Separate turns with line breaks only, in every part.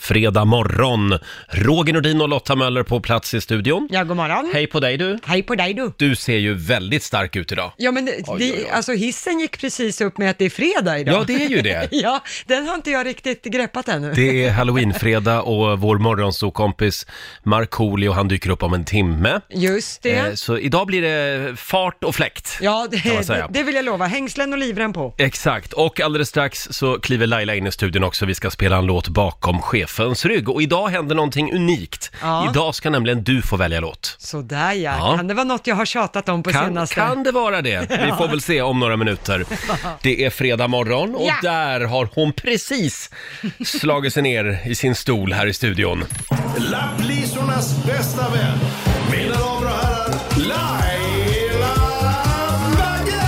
fredag morgon. Roger Nordin och Lotta Möller på plats i studion.
Ja, god morgon.
Hej på dig du!
Hej på dig du.
Du ser ju väldigt stark ut idag.
Ja, men det,
oj.
alltså hissen gick precis upp med att det är fredag idag.
Ja, det är ju det.
Ja, den har inte jag riktigt greppat ännu.
Det är halloweenfredag och vår morgonsokompis Markoolio han dyker upp om en timme.
Just det.
Eh, Så idag blir det fart och fläkt.
ja, det,
kan man säga.
det, det vill jag lova. Hängslen och livrem på.
Exakt, och alldeles strax så kliver Laila in i studion också. Vi ska spela en låt bakom chefens rygg. Och idag händer någonting unikt.
Ja.
Idag ska nämligen du få välja låt.
Sådär ja.
Ja.
Kan det vara något jag har tjatat om på
Kan,
senaste?
kan det vara det? Vi får väl se om några minuter. Det är fredag morgon och
Ja.
där har hon precis slagit sig ner i sin stol här i studion.
Lapplisornas bästa vän. Mina damer och herrar, Laila Bagge!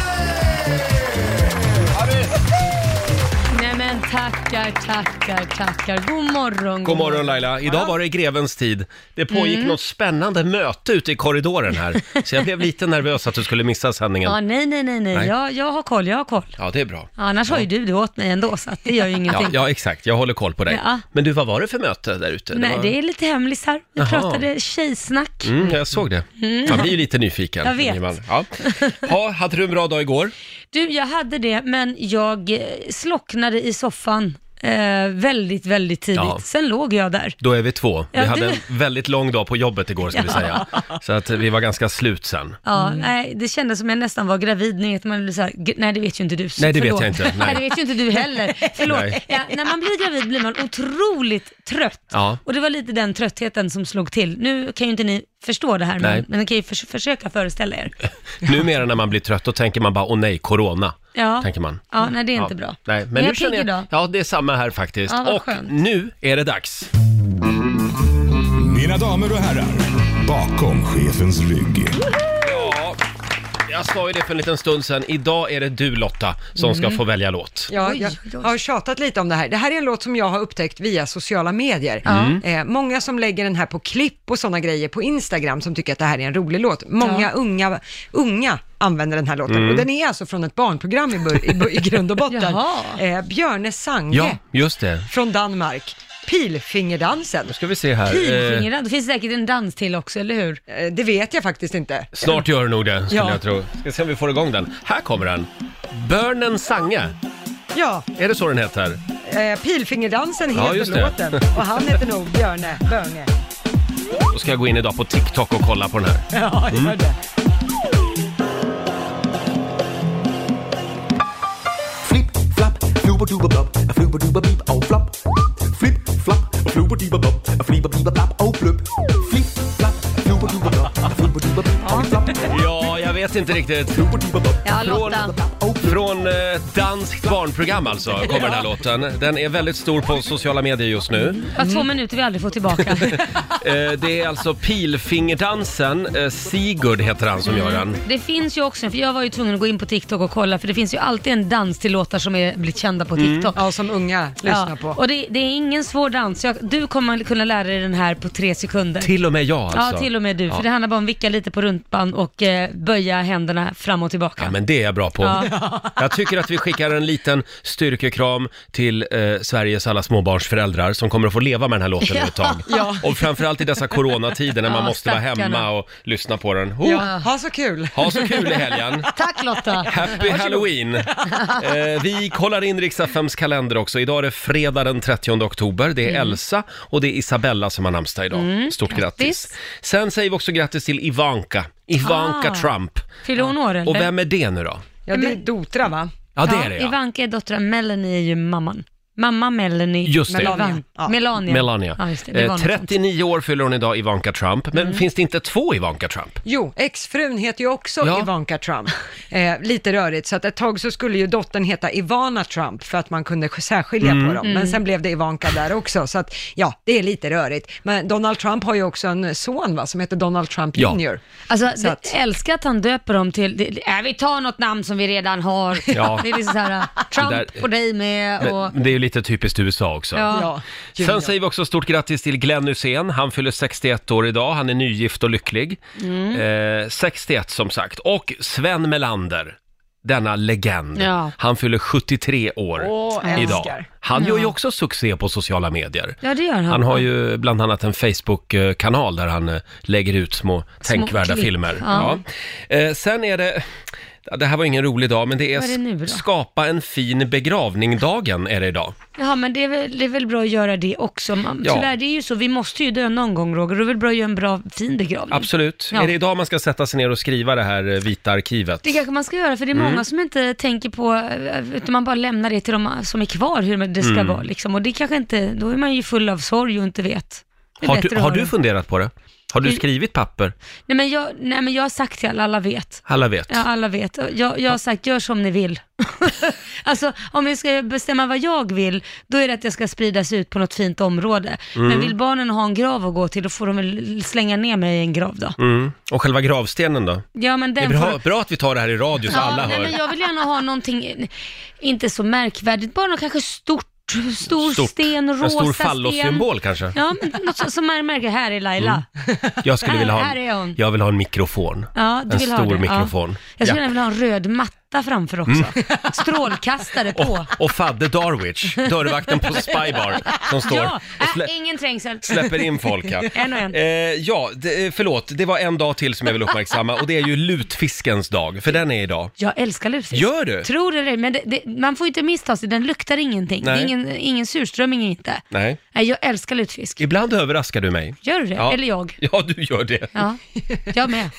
Nej men tackar, tackar, tackar. God morgon. Mm.
God morgon Laila, idag var det grevens tid. Det pågick något spännande möte ute i korridoren här. Så jag blev lite nervös att du skulle missa sändningen.
Ja, nej, nej, nej, nej.
Nej.
Jag, jag har koll, jag har koll.
Ja, det är bra.
Annars har ju du det åt mig ändå, så att det gör ju ingenting.
Ja, ja, exakt. Jag håller koll på dig.
Ja.
Men du, vad var det för möte där ute?
Nej,
var...
det är lite hemlisar. Vi
Jaha.
pratade tjejsnack.
Mm, jag såg det. Man blir ju lite nyfiken.
Jag vet.
Ingemar. Ja. Ha, hade du en bra dag igår?
Du, jag hade det, men jag eh, slocknade i soffan eh, väldigt, väldigt tidigt.
Ja.
Sen låg jag där.
Då är vi två. Vi
Ja,
hade
du-
en väldigt lång dag på jobbet igår, ska vi säga. Så att vi var ganska slut sen.
Ja, nej, det kändes som jag nästan var gravid. Ni vet, man blir så här, "Gud, nej det vet ju inte du.
Nej, det vet
Förlåt."
jag inte. Nej.
Nej. det vet ju inte du heller. Förlåt.
Nej.
Ja, när man blir gravid blir man otroligt trött.
Ja.
Och det var lite den tröttheten som slog till. Nu kan ju inte ni förstå det här,
Nej.
men, men ni kan ju förs- försöka föreställa er.
Numera när man blir trött, då tänker man bara åh nej, corona.
Ja,
Tänker man.
ja nej det är inte bra.
Nej, men,
men jag
nu
är pigg
känner jag,
idag.
ja det är samma här faktiskt.
Ja, vad
och
skönt.
nu är det dags.
Mina damer och herrar, bakom chefens rygg.
Ja, jag sa ju det för en liten stund sedan. Idag är det du Lotta som ska
Mm.
få välja låt.
Ja,
Oj,
jag
oj, oj.
har tjatat lite om det här. Det här är en låt som jag har upptäckt via sociala medier.
Mm.
Eh, många som lägger den här på klipp och sådana grejer på Instagram som tycker att det här är en rolig låt. Många
Ja.
unga, unga använder den här låten
Mm.
och den är alltså från ett barnprogram i, bör- i, bör- i grund och botten.
Jaha.
Eh, Björne Sange
Ja, just det.
från Danmark. Pilfingerdansen.
Ska vi se här. Eh,
Pilfingrar, det finns säkert en dans till också, eller hur?
Eh, det vet jag faktiskt inte.
Snart gör det nog det, skulle
Ja.
jag tro. Ska se om vi får igång den. Här kommer den. Börnen Sange,
Ja,
är det så den heter?
eh, Pilfingerdansen
Ja,
heter
just det.
låten och han heter nog Björne Börne.
Då ska jag gå in idag på TikTok och kolla på den här.
Ja, gör det.
Flip, flap, flubber duber blop, og flubber duber bip og oh, flop. Flip, flap, flubber duber blop, og flipper biber blap og bløp. oh, Flip, flap, flubber duber blop, og flubber duber bip og oh, flop.
Ja, jag vet inte riktigt.
Flubber duber blop,
Ja,
Från-
Lotta.
og bløp.
Från eh, danskt barnprogram alltså, kommer den här låten. Den är väldigt stor på sociala medier just nu.
Bara två minuter vi aldrig får tillbaka.
Eh, det är alltså Pilfingerdansen, eh, Sigurd heter han som gör den.
Det finns ju också, för jag var ju tvungen att gå in på TikTok och kolla, för det finns ju alltid en dans till låtar som är blivit kända på
Mm.
TikTok.
Ja, som unga lyssnar på.
Och det, det är ingen svår dans. Jag, du kommer kunna lära dig den här på tre sekunder.
Till och med jag alltså.
Ja, till och med du.
Ja.
För det handlar bara om att vicka lite på runtband och eh, böja händerna fram och tillbaka.
Ja, men det är jag bra på. Jag tycker att vi skickar en liten styrkekram till eh, Sveriges alla småbarnsföräldrar som kommer att få leva med den här låten nu ett tag.
Ja.
Och framförallt i dessa coronatider när man
Ja,
måste vara
stackarna.
hemma och lyssna på den. Oh,
Ja, ha så kul.
Ha så kul i helgen!
Tack Lotta!
Happy Halloween! Eh, vi kollar in Riks-FMs kalender också. Idag är det fredag den 30 oktober. Det är
Mm.
Elsa och det är Isabella som har namnsdag idag. Stort grattis.
grattis.
Sen säger vi också grattis till Ivanka. Ivanka
Ah.
Trump.
Fyller hon år eller?
Och vem är det nu då?
Ja, det är Dotra va?
Ja, det är det ja.
Ivanka är dottern, Melanie är ju mamman. Mamma Melanie.
Just det.
Melania.
Ivan-
Ja.
Melania.
Melania.
Ja, just det. det
Eh,
var något sånt. Mm.
39 år fyller hon idag, Ivanka Trump. Men finns det inte två Ivanka Trump?
Jo, exfrun heter ju också
Ja.
Ivanka Trump. Eh, lite rörigt, så att ett tag så skulle ju dottern heta Ivana Trump för att man kunde särskilja
Mm.
på dem. Men sen blev det Ivanka där också, så att ja, det är lite rörigt. Men Donald Trump har ju också en son va, som heter Donald Trump
Ja.
Jr.
Alltså,
Så
det,
att-
älskar att han döper dem till, det, äh, vi tar något namn som vi redan har.
Ja.
Det är liksom såhär, Trump
Det där-
och dig med och...
Men Det är ju lite typiskt USA också.
Ja.
Ja,
Sen säger vi också stort grattis till Glenn Hussein. Han fyller 61 år idag. Han är
Mm.
nygift och lycklig. Eh, 61 som sagt. Och Sven Melander. denna legend.
Ja.
Han fyller 73 år
Åh,
idag.
älskar.
Han gör ju
Ja.
också succé på sociala medier.
Ja, det gör han.
Han har ju bland annat en Facebook-kanal där han eh, lägger ut små tänkvärda
klipp,
filmer. Ja.
ja.
Eh, Sen är det, det här var ingen rolig dag, men det är,
Vad är det nu då?
skapa en fin begravning-dagen är det idag.
Ja, men det är, väl, det är väl bra att göra det också. Man,
Ja.
Tyvärr, det är ju så. Vi måste ju dö någon gång, Roger. Det är väl bra att göra en bra, fin begravning.
Absolut.
Mm. Ja.
Är det idag man ska sätta sig ner och skriva det här eh, vita arkivet?
Det kanske man ska göra, för det är
Mm.
många som inte tänker på, eh, utan man bara lämnar det till de eh, som är kvar, hur det ska
Mm.
vara. Liksom. Och det kanske inte, då är man ju full av sorg och inte vet. Det är
Har
bättre
du,
att
har
ha
du
det.
funderat på det? Har du
I-
skrivit papper?
Nej men, jag, nej, men jag har sagt till alla, alla vet.
Alla vet.
Ja, alla vet. Jag, jag har sagt, gör som ni vill. alltså, om jag ska bestämma vad jag vill, då är det att jag ska spridas ut på något fint område.
Mm.
Men vill barnen ha en grav att gå till, då får de väl slänga ner mig i en grav då.
Mm. Och själva gravstenen då?
Ja, men
Det är
den får...
bra, bra att vi tar det här i radio så alla
nej,
hör.
Men jag vill gärna ha någonting, inte så märkvärdigt, bara något kanske stort. Stor
Stort.
sten, rosa
En stor
sten.
fallossymbol Mm. kanske?
Ja, men något så- som man märker, här är Laila.
Jag skulle
här-
vilja ha
här är hon.
en, jag vill ha en mikrofon.
Ja, du
en
vill
stor
ha det.
mikrofon.
Ja. Jag skulle
Ja. Mm.
gärna vilja ha en röd matta framför också. Strålkastare på.
Och, och Fadde Darwich, dörrvakten på Spybar, som står
Ja,
och
äh,
slä,
ingen trängsel.
släpper in folk här.
En och en.
Eh, ja, det, förlåt, det var en dag till som jag vill uppmärksamma och det är ju lutfiskens dag, för den är idag.
Jag älskar lutfisk.
Gör du?
Tror det eller ej, men det, det, man får inte missta sig, den luktar ingenting. Det
Nej.
är ingen, ingen surströmming inte.
Nej.
Nej, jag älskar lutfisk.
Ibland överraskar du mig.
Gör du det?
Ja.
Eller jag?
Ja, du gör det.
Ja, jag med.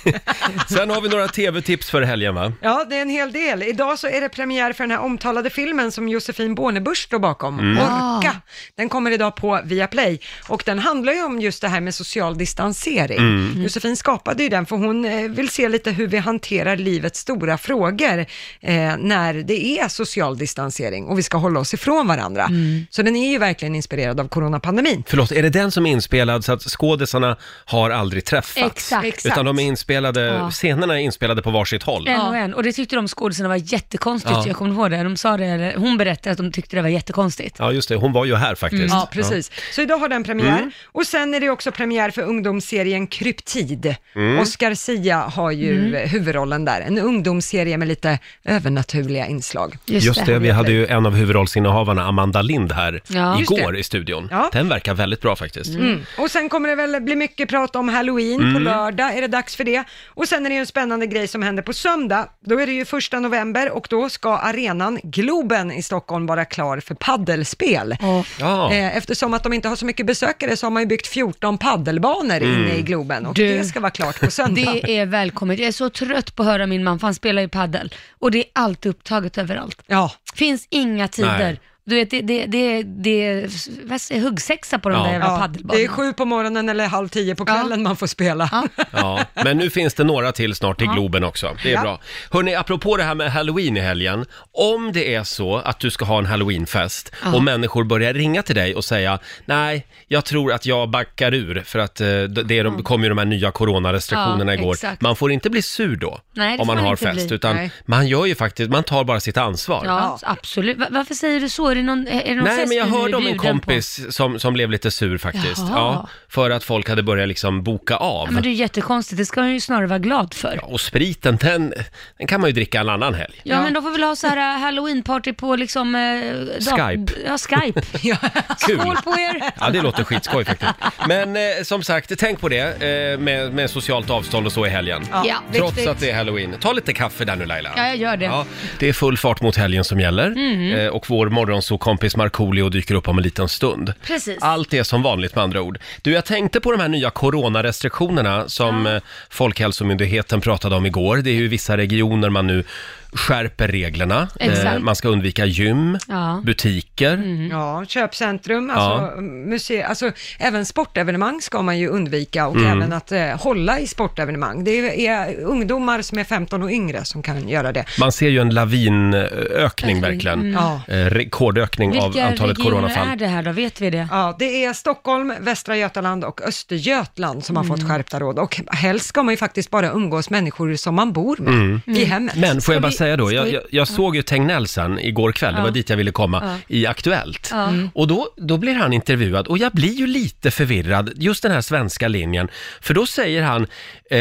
Sen har vi några tv-tips för helgen, va?
Ja, det är en hel del. Idag så är det premiär för den här omtalade filmen som Josefin Bornebusch står bakom,
Mm.
Orka. Den kommer idag på Viaplay och den handlar ju om just det här med social distansering.
Mm. Mm.
Josefin skapade ju den för hon eh, vill se lite hur vi hanterar livets stora frågor eh, när det är social distansering och vi ska hålla oss ifrån varandra. Så den är ju verkligen inspirerad av coronapandemin.
Förlåt, är det den som är inspelad så att skådisarna har aldrig träffats?
Exakt. Exakt.
Utan de är inspelade,
Ja.
scenerna är inspelade på varsitt håll.
En och en. Och det tyckte de skådisarna var jättekonstigt.
Ja.
Jag kommer ihåg det. De sa det, eller hon berättade att de tyckte det var jättekonstigt.
Ja, just det. Hon var ju här faktiskt.
Mm. Ja, precis. Så idag har den premiär.
Mm.
Och sen är det också premiär för ungdomsserien Kryptid.
Mm.
Oscar Sia har ju
Mm.
eh, huvudrollen där. En ungdomsserie med lite övernaturliga inslag.
Just, det, vi hade ju en av huvudrollsinnehavarna, Amanda Lind, här
Ja. Just
igår
det.
i studion.
Ja.
Den verkar väldigt bra faktiskt.
Mm. Och sen kommer det väl bli mycket prat om halloween på
Mm.
lördag, är det dags för det? Och sen är det ju en spännande grej som händer på söndag. Då är det ju första november och då ska arenan Globen i Stockholm vara klar för paddelspel.
Ja.
Eh, Eftersom att de inte har så mycket besökare så har man ju byggt 14 paddelbanor
Mm.
inne i Globen och
Du.
det ska vara klart på söndag.
Det är välkommet. Jag är så trött på att höra min man, för han spelar ju paddel Och det är alltid upptaget överallt.
Ja.
Finns inga tider.
Nej.
Du vet, det, det, det, det vad säger, jag, huggsexa på de där jävla paddelbanorna.
det är sju på morgonen eller halv tio på kvällen man får spela.
Ja, men nu finns det några till snart i
Ja.
Globen också. Det är
Ja.
bra. Hörni, apropå det här med halloween i helgen. Om det är så att du ska ha en halloweenfest
Ja.
och människor börjar ringa till dig och säga nej, jag tror att jag backar ur för att eh, det är de, kom ju de här nya coronarestriktionerna
Mm. Ja,
igår.
exakt.
Man får inte bli sur då
Nej, det
om
får
man,
man
har
inte
fest,
bli.
utan
Nej.
man gör ju faktiskt, man tar bara sitt ansvar.
Ja, absolut. Va- Varför säger du så? Är det någon, är det någon
Nej,
fest
men jag
du nu är
hörde om en
bjuden på?
kompis som, som blev lite sur faktiskt.
Jaha.
Ja, för att folk hade börjat liksom boka av.
Ja, men det är jättekonstigt. Det ska man ju snarare vara glad för. Ja,
Och spriten, den, den kan man ju dricka en annan helg.
men då får vi väl ha så här eh, halloween-party på liksom... Eh, dat-
Skype.
Ja, Skype.
Kul!
Skål på er!
Ja, det låter skitskoj faktiskt. Men eh, som sagt, tänk på det eh, med, med socialt avstånd och så i helgen.
Ja, Ja,
Trots
viktigt.
att det är halloween. Ta lite kaffe där nu Laila.
Ja, jag gör det.
Ja, det är full fart mot helgen som gäller.
Mhm.
Eh, och vår morgonsokompis Markoolio dyker upp om en liten stund.
Precis.
Allt är som vanligt med andra ord. Du, jag tänkte på de här nya coronarestriktionerna som eh, Folkhälsomyndigheten pratade om igår. Det är ju i vissa regioner man nu skärper reglerna. Eh,
Exakt.
man ska undvika gym,
Ja.
butiker.
Mm.
Ja, köpcentrum,
Mm. Ja.
alltså, muse- alltså även sportevenemang ska man ju undvika och
Mm.
även att eh, hålla i sportevenemang. Det är ungdomar som är 15 och yngre som kan göra det.
Man ser ju en lavinökning verkligen.
Mm. Ja.
Eh, rekordökning utökning av
Vilka
antalet
regioner
coronafall.
är det här då? Vet vi det?
Ja, det är Stockholm, Västra Götaland och Östergötland som har fått
Mm.
skärpta råd. Och helst ska man ju faktiskt bara umgås människor som man bor med
Mm.
i hemmet.
Men får jag bara säga då,
ska
jag,
vi-
jag, jag såg ju Tegnell sen igår kväll, det
Ja.
var dit jag ville komma,
Ja.
i Aktuellt.
Ja. Mm.
Och då, då blir han intervjuad och jag blir ju lite förvirrad, just den här svenska linjen. För då säger han, eh,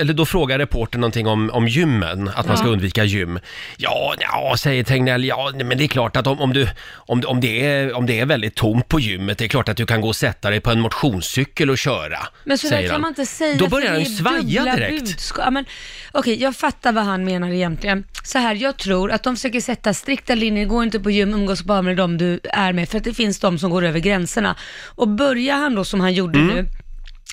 eller då frågar reportern någonting om, om gymmen, att man ska
Ja.
undvika gym. Ja, ja, säger Tegnell, ja, nej, men det är klart att om, om, du, om, om, det är, om det är väldigt tomt på gymmet, det är klart att du kan gå och sätta dig på en motionscykel och köra.
Men så där
säger
kan
han.
man inte säga.
Då
för
börjar
det
han
är
ju svaja
dubbla
direkt.
budskap. Ja, men, Okej, jag fattar vad han menar egentligen. Så här, jag tror att de försöker sätta strikta linjer, gå inte på gym, umgås bara med de du är med, för att det finns de som går över gränserna. Och börjar han då som han gjorde
Mm.
nu,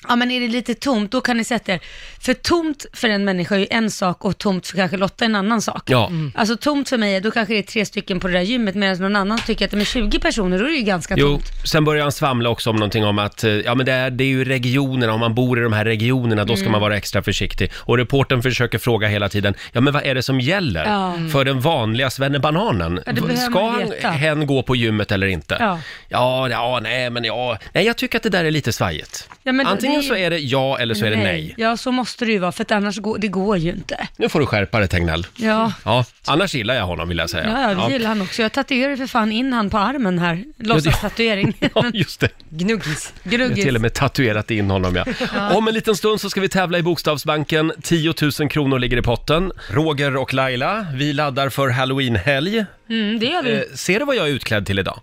Ja men är det lite tomt, då kan ni sätta er. För tomt för en människa är ju en sak och tomt för kanske Lotta är en annan sak.
Ja. Mm.
Alltså tomt för mig, är- då kanske det är tre stycken på det där gymmet medan någon annan tycker att det är 20 personer, då är det ju ganska
Jo,
tomt.
sen börjar han svamla också om någonting om att eh, ja, men det, är, det är ju regionerna, om man bor i de här regionerna då ska
Mm.
man vara extra försiktig. Och reportern försöker fråga hela tiden, ja men vad är det som gäller
Ja.
för den vanliga svennebananen?
Ja, det
V-
behöver
ska
man
han,
veta.
hen gå på gymmet eller inte?
Ja.
ja, ja, nej men ja, nej jag tycker att det där är lite svajigt.
Ja, men det-
Antingen
det är-
så är det ja eller så är det nej.
Ja, så måste det ju vara, för att annars går, det går ju inte.
Nu får du skärpa dig Tegnell.
Ja.
ja. Annars gillar jag honom vill jag säga.
Ja, jag gillar han också. Jag tatuerade för fan in han på armen här. Låtsas-tatuering.
Ja, just det.
Gnuggis.
Jag har till och med tatuerat in honom ja.
Ja.
Om en liten stund så ska vi tävla i Bokstavsbanken. 10 000 kronor ligger i potten. Roger och Laila, vi laddar för halloweenhelg.
Mm, det gör vi.
Eh, ser du vad jag är utklädd till idag?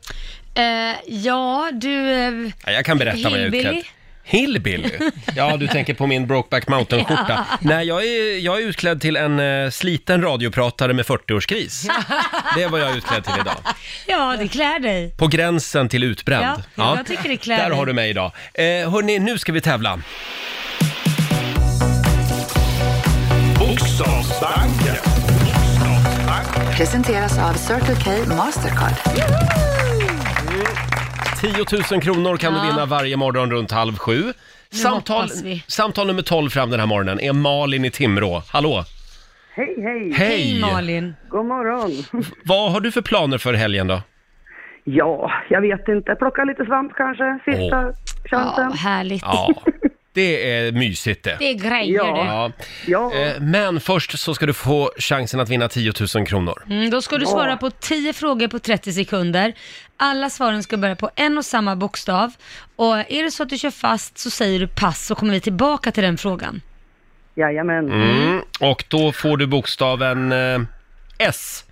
Eh, ja, du... Eh,
Ja, jag kan berätta vad jag är
Hillbilly?
utklädd. Hillbilly? Ja, du tänker på min Brokeback Mountain-skjorta.
Ja.
Nej, jag är, jag är utklädd till en eh, sliten radiopratare med 40-årskris. Det är vad jag är utklädd till idag.
ja, det klär dig.
På gränsen till utbränd.
Ja, jag tycker det klär
Där
dig.
har du mig idag. Eh, hörni, nu ska vi tävla.
Bokstavsbanken.
Presenteras av Circle K Mastercard.
10 000 kronor kan du
Ja.
vinna varje morgon runt halv sju.
Nu
Samtal,
hoppas vi.
samtal nummer 12 fram den här morgonen är Malin i Timrå. Hallå!
Hej, hej!
Hej. Hej,
Malin!
God morgon!
Vad har du för planer för helgen då?
Ja, jag vet inte. Plocka lite svamp kanske, sista
Åh.
chansen.
Ja, härligt.
Ja, det är mysigt det.
Det är grejer det.
Ja. Eh, Men först så ska du få chansen att vinna 10 000 kronor.
Mm, då ska du
Ja.
svara på 10 frågor på 30 sekunder. Alla svaren ska börja på en och samma bokstav. Och är det så att du kör fast så säger du pass så kommer vi tillbaka till den frågan.
Jajamän.
Mm. Och då får du bokstaven eh, S.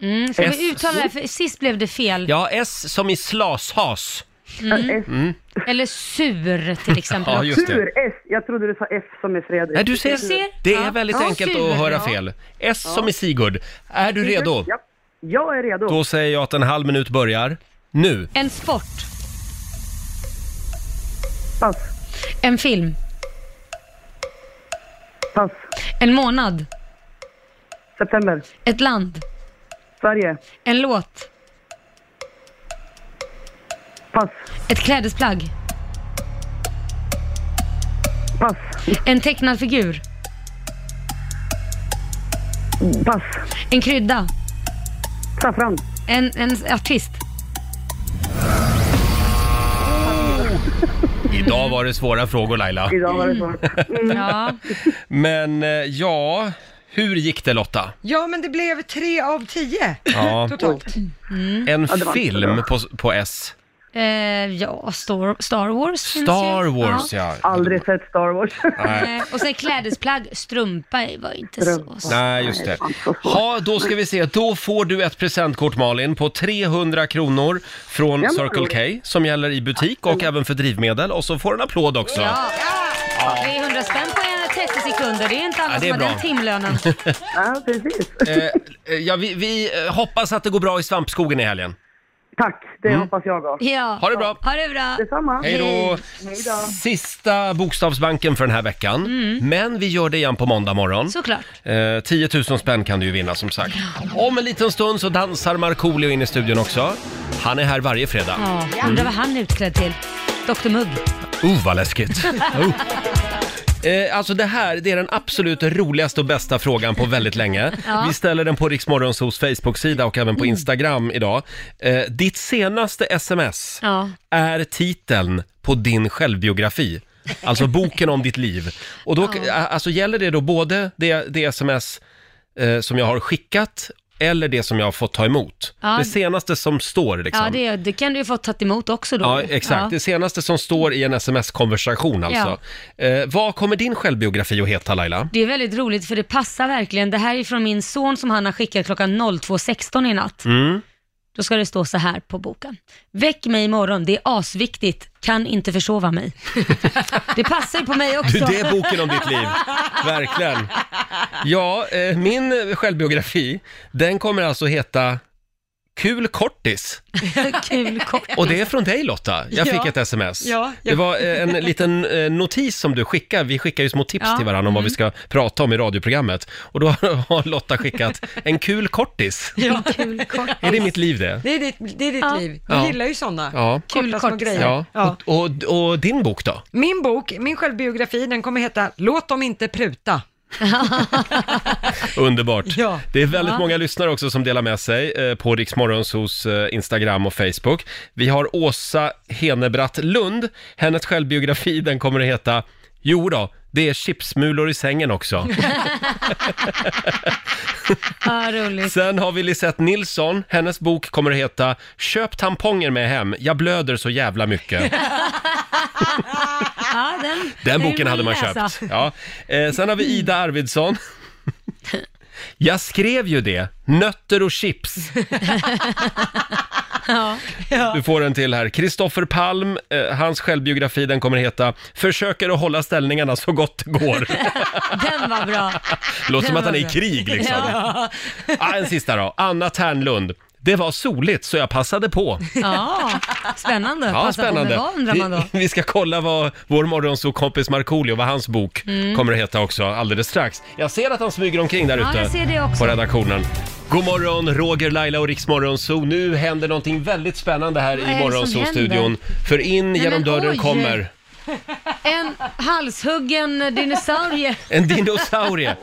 Mm, ska
S-
vi uttala det här? För sist blev det fel.
Ja, S som i slashas.
Mm.
Mm.
Eller sur till exempel.
Ja, just det. Sur,
S. Jag trodde du sa F som är Fredrik.
Nej, du ser. Det är väldigt enkelt att höra
Ja.
fel. S
Ja.
som i Sigurd. Är du
Sigurd,
redo?
Ja, jag är redo.
Då säger jag att en halv minut börjar nu.
En sport. Pass. En film.
Pass.
En månad.
September.
Ett land.
Sverige.
En låt.
Pass.
Ett klädesplagg.
Pass.
En tecknad figur.
Pass.
En krydda.
Saffran.
En, en artist.
Idag var det svåra frågor Laila.
Idag var det svårt.
Ja.
Men eh, ja, hur gick det Lotta?
Ja, men det blev tre av tio
Ja.
totalt.
En
Ja, det var inte
film
bra.
på, på S.
Eh, ja, Star, Star Wars. finns
Star
ju.
Wars ja.
Aldrig sett Star Wars.
Nej.
Eh, Och sen klädesplagg, strumpa var inte så.
Nej, just det. Ja, då ska vi se. Då får du ett presentkort Malin på 300 kronor från
Ja, men
Circle K som gäller i butik och även för drivmedel. Och så får du en applåd också.
Ja. 300 spänn på en 30 sekunder, det är inte alla
Ja, det är
som har
bra.
den timlönen.
ja, precis.
Eh, eh, ja, vi, vi eh, hoppas att det går bra i svampskogen i helgen.
Tack, det hoppas jag också.
Ja.
Ha det bra.
Ha det bra.
Detsamma.
Mm. Hej då! Sista Bokstavsbanken för den här veckan. Men vi gör det igen på måndag morgon.
Såklart.
Eh, 10 000 spänn kan du ju vinna som sagt. Om en liten stund så dansar Markoolio in i studion också. Han är här varje fredag.
Ja, undrar vad han är utklädd till. Dr Mugg.
Oh, vad läskigt. Oh. Eh, alltså det här, det är den absolut roligaste och bästa frågan på väldigt länge.
Ja. Mm.
Vi ställer den på Riksmorgonsos Facebook-sida och även på Instagram idag. Eh, ditt senaste sms
Ja.
är titeln på din självbiografi. Alltså boken om ditt liv. Och då, alltså gäller det då både det, det sms eh, som jag har skickat eller det som jag har fått ta emot.
Ja.
Det senaste som står liksom.
Ja, det, det kan du ju få tagit emot också då.
Ja, exakt.
Ja.
Det senaste som står i en sms-konversation alltså. Eh, vad kommer din självbiografi att heta Laila?
Det är väldigt roligt för det passar verkligen. Det här är från min son som han har skickat klockan 02.16 i natt.
Mm.
Då ska det stå så här på boken. Väck mig imorgon, det är asviktigt. Kan inte försova mig. det passar ju på mig också.
Du, det är boken om ditt liv. Verkligen. Ja, eh, min självbiografi, den kommer alltså heta Kul kortis.
Kul kort.
Och det är från dig Lotta. Jag fick
Ja.
ett sms.
Ja, jag-
Det var eh, en liten eh, notis som du skickar. Vi skickar ju små tips
Ja,
till varandra om vad vi ska prata om i radioprogrammet. Och då har Lotta skickat en kul kortis.
Kul kort.
Är det mitt liv det?
Det är ditt, det är ditt
Ja.
liv. Jag
Ja.
gillar ju sådana.
Ja.
Korta
Kul
små
kortisar.
grejer.
Ja,
Ja.
Och, och, och din bok då?
Min bok, min självbiografi, den kommer heta Låt dem inte pruta.
Underbart.
Ja.
Det är väldigt många lyssnare också som delar med sig eh, på Riksmorgons hos eh, Instagram och Facebook. Vi har Åsa Henebratt Lund. Hennes självbiografi, den kommer att heta Jo då, det är chipsmulor i sängen också.
Ja, roligt.
Sen har vi Lisette Nilsson. Hennes bok kommer att heta Köp tamponger med hem. Jag blöder så jävla mycket.
Ja, den,
Den
vill
boken hade man
läsa.
köpt. Ja. Eh, sen har vi Ida Arvidsson. Jag skrev ju det. Nötter och chips. Du får en till här. Kristoffer Palm, eh, hans självbiografi den kommer heta Försöker att hålla ställningarna så gott det går.
Den var bra.
Låter som
Den
att han är i
var
krig liksom.
Ja.
Ah, en sista då. Anna Ternlund. Det var soligt så jag passade på.
ja, spännande.
Ja,
Passa på med
spännande.
Vad undrar man då?
Vi, vi ska kolla vad vår morgonsåkompis Markoolio, vad hans bok kommer att heta också alldeles strax. Jag ser att han smyger omkring där
Mm. Ja,
ute
jag ser det också.
på redaktionen. God morgon, Roger, Laila och Riksmorgonzoo. Nu händer någonting väldigt spännande här
Vad är
i
det som
Morgonzoo-studion. För in genom
men
dörren
oj.
kommer
En halshuggen dinosaurie.
en dinosaurie.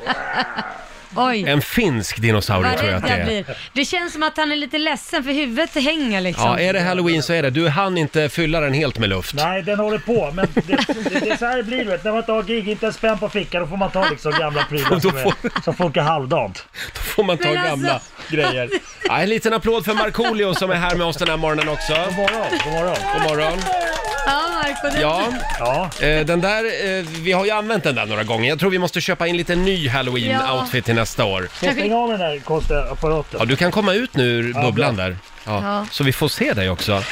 Oj.
En finsk dinosaurie
Vad
tror jag
rädd
att det
jag
är.
blir. Det känns som att han är lite ledsen för huvudet hänger liksom.
Ja, eh. är det halloween så är det. Du hann inte fylla den helt med luft.
Nej, den håller på. Men det, det, det är så här det blir. du Vet. När man inte har gig, inte en spänn på fickan, då får man ta liksom gamla prylar som, är, som funkar halvdant.
Då får man ta
Men alltså-
gamla grejer. Ja, en liten applåd för Markoolio som är här med oss den här morgonen också.
God morgon, god morgon.
God morgon.
Ja, Marco, det...
Ja,
Ja,
eh, den där, eh, vi har ju använt den där några gånger. Jag tror vi måste köpa in lite ny halloween-outfit till nästa år.
så stäng av den där konstiga apparaten.
Ja, du kan komma ut nu ur bubblan där. Ja,
Ja.
Så vi får se dig också.